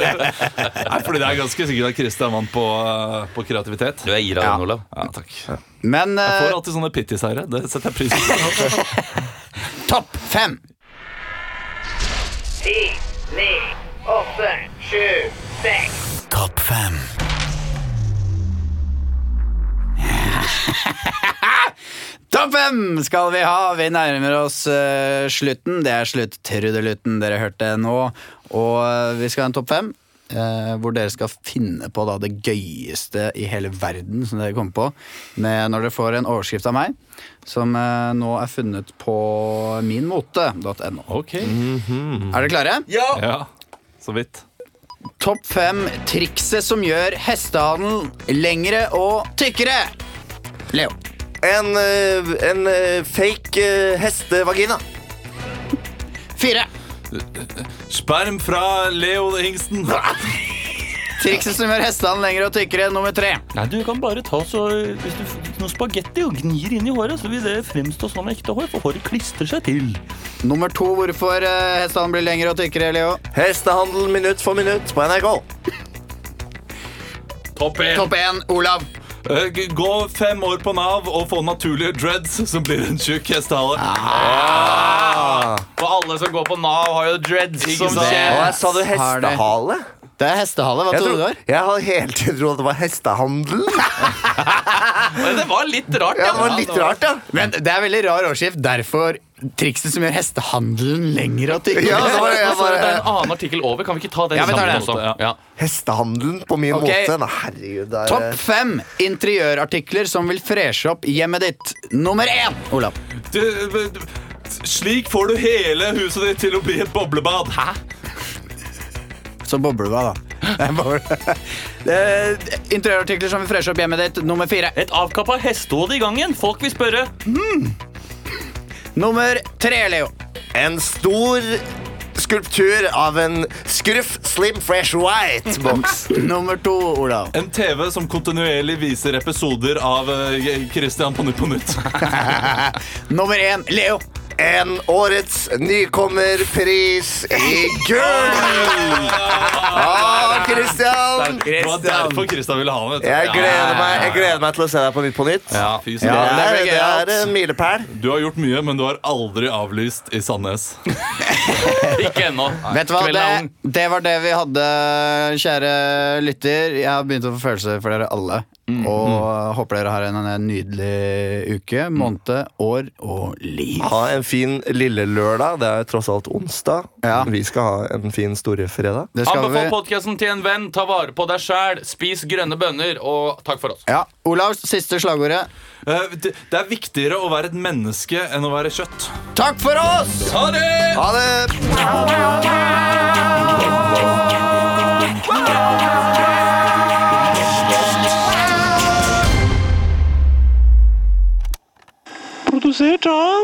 [SPEAKER 4] [LAUGHS] Nei, fordi det er ganske sikkert at Chris er mann på, eh, på kreativitet.
[SPEAKER 3] Du er gira,
[SPEAKER 1] Ja.
[SPEAKER 3] den, Olav.
[SPEAKER 4] Ja, takk. Jeg
[SPEAKER 1] Men eh,
[SPEAKER 4] får alltid sånne pittiseiere. Det setter jeg pris på.
[SPEAKER 11] [LAUGHS]
[SPEAKER 1] topp fem!
[SPEAKER 12] Ti, ni, åtte, sju, seks.
[SPEAKER 1] Topp [LAUGHS] fem. Topp fem skal vi ha. Vi nærmer oss eh, slutten. Det er slutt-trudelutten dere hørte nå. Og eh, vi skal ha en topp fem. eh, hvor dere skal finne på da, det gøyeste i hele verden som dere kommer på. Med, når dere får en overskrift av meg, som eh, nå er funnet på minmote.no.
[SPEAKER 4] Ok.
[SPEAKER 1] Er dere klare?
[SPEAKER 4] Mm. Ja, så vidt.
[SPEAKER 1] Topp fem trikset som gjør hestehandel lengre og tykkere. Leo.
[SPEAKER 5] En, eh, en eh, fake eh, hestevagina.
[SPEAKER 1] Fire.
[SPEAKER 4] Sperm fra Leo Hingsten.
[SPEAKER 1] Trikset som gjør hestene lengre og tykkere, nummer tre.
[SPEAKER 11] Nei, du kan bare ta så Hvis du får noe spagetti og gnir inn i håret, så vil det fremstå som ekte hår, for håret klistrer seg til.
[SPEAKER 1] Nummer to, hvorfor eh, hestene blir lengre og tykkere, Leo?
[SPEAKER 5] Hestehandel minutt for minutt på NRK.
[SPEAKER 4] Topp én.
[SPEAKER 1] Topp én, Olav.
[SPEAKER 4] Eh, g- Gå fem år på Nav og få naturlige dreads, som blir en tjukk hestehale.
[SPEAKER 3] For alle som går på Nav, har jo dreads. Som
[SPEAKER 1] sant?
[SPEAKER 3] skjer.
[SPEAKER 5] Og jeg sa
[SPEAKER 1] Har
[SPEAKER 5] du
[SPEAKER 1] det.
[SPEAKER 5] hestehale?
[SPEAKER 1] Det er hestehale. Hva
[SPEAKER 5] Jeg,
[SPEAKER 1] trodde du det
[SPEAKER 5] trodde-
[SPEAKER 1] var?
[SPEAKER 5] jeg har hele tiden trodd at det var
[SPEAKER 1] [LAUGHS]
[SPEAKER 5] hestehandel.
[SPEAKER 3] Men det var litt rart.
[SPEAKER 5] Ja, det var litt rart, ja.
[SPEAKER 1] Men det er veldig rar årsskift. Derfor trikset som gjør hestehandelen lengre og tykkere.
[SPEAKER 5] Ja, det var- jeg
[SPEAKER 3] Og
[SPEAKER 1] sånn
[SPEAKER 3] så er det
[SPEAKER 5] bare-
[SPEAKER 3] en annen artikkel over. Kan vi ikke ta den
[SPEAKER 1] Ja, vi tar
[SPEAKER 3] sammen
[SPEAKER 1] den.
[SPEAKER 3] også? Ja.
[SPEAKER 5] eh, Hestehandelen på min
[SPEAKER 1] Ok.
[SPEAKER 5] måte. Nei, herregud, det er
[SPEAKER 1] Topp fem interiørartikler som vil freshe opp hjemmet ditt. Nummer én, Olav.
[SPEAKER 4] Du, du, du, slik får du hele huset ditt til å bli et boblebad. Hæ?
[SPEAKER 1] Så bobler du av,
[SPEAKER 3] [LAUGHS]
[SPEAKER 1] da. Det er boble. Eh, Interiørartikler som vil freshe opp hjemmet ditt. Nummer fire.
[SPEAKER 11] Et avkappa hestehode i gangen. Folk vil spørre.
[SPEAKER 1] Nummer tre, Leo.
[SPEAKER 5] eh, En stor skulptur av en Scruff Slim Fresh White-boks.
[SPEAKER 1] [LAUGHS] Nummer to, Olav.
[SPEAKER 4] En TV som kontinuerlig viser episoder av eh, Christian på Nytt på Nytt.
[SPEAKER 1] Nummer én, Leo.
[SPEAKER 5] En årets nykommerpris i gull! Å, Christian!
[SPEAKER 4] [LAUGHS] Det var derfor Christian ville ha den. vet du.
[SPEAKER 5] Jeg gleder, meg, jeg gleder meg til å se deg på Nytt på nytt.
[SPEAKER 4] Ja, fy
[SPEAKER 5] Det
[SPEAKER 4] søren.
[SPEAKER 5] er,
[SPEAKER 1] det blir
[SPEAKER 5] det
[SPEAKER 1] gøy,
[SPEAKER 5] er en milepæl.
[SPEAKER 4] Du har gjort mye, men du har aldri avlyst i Sandnes.
[SPEAKER 3] Ikke ennå.
[SPEAKER 1] Vet du hva,
[SPEAKER 3] Kvelden er ung.
[SPEAKER 1] det, det var det vi hadde, kjære lytter. Jeg har begynt å få følelser for dere alle.
[SPEAKER 3] Mm,
[SPEAKER 1] Og håper dere har en, en nydelig uke,
[SPEAKER 3] Mm.
[SPEAKER 1] måned, år og liv.
[SPEAKER 3] Ah,
[SPEAKER 5] Ha en fin lille lørdag. Det er jo tross alt onsdag.
[SPEAKER 1] Ja.
[SPEAKER 5] Vi skal ha en fin store fredag.
[SPEAKER 1] Det skal vi.
[SPEAKER 3] Anbefal podkasten til en venn. Ta vare på deg sjæl. Spis grønne bønner. Og takk for oss.
[SPEAKER 1] Ja, Olav, siste slagordet.
[SPEAKER 4] Eh, Det det er viktigere å være et menneske enn å være kjøtt.
[SPEAKER 1] Takk for oss!
[SPEAKER 4] Ha det!
[SPEAKER 5] Ha det!
[SPEAKER 13] Produsert av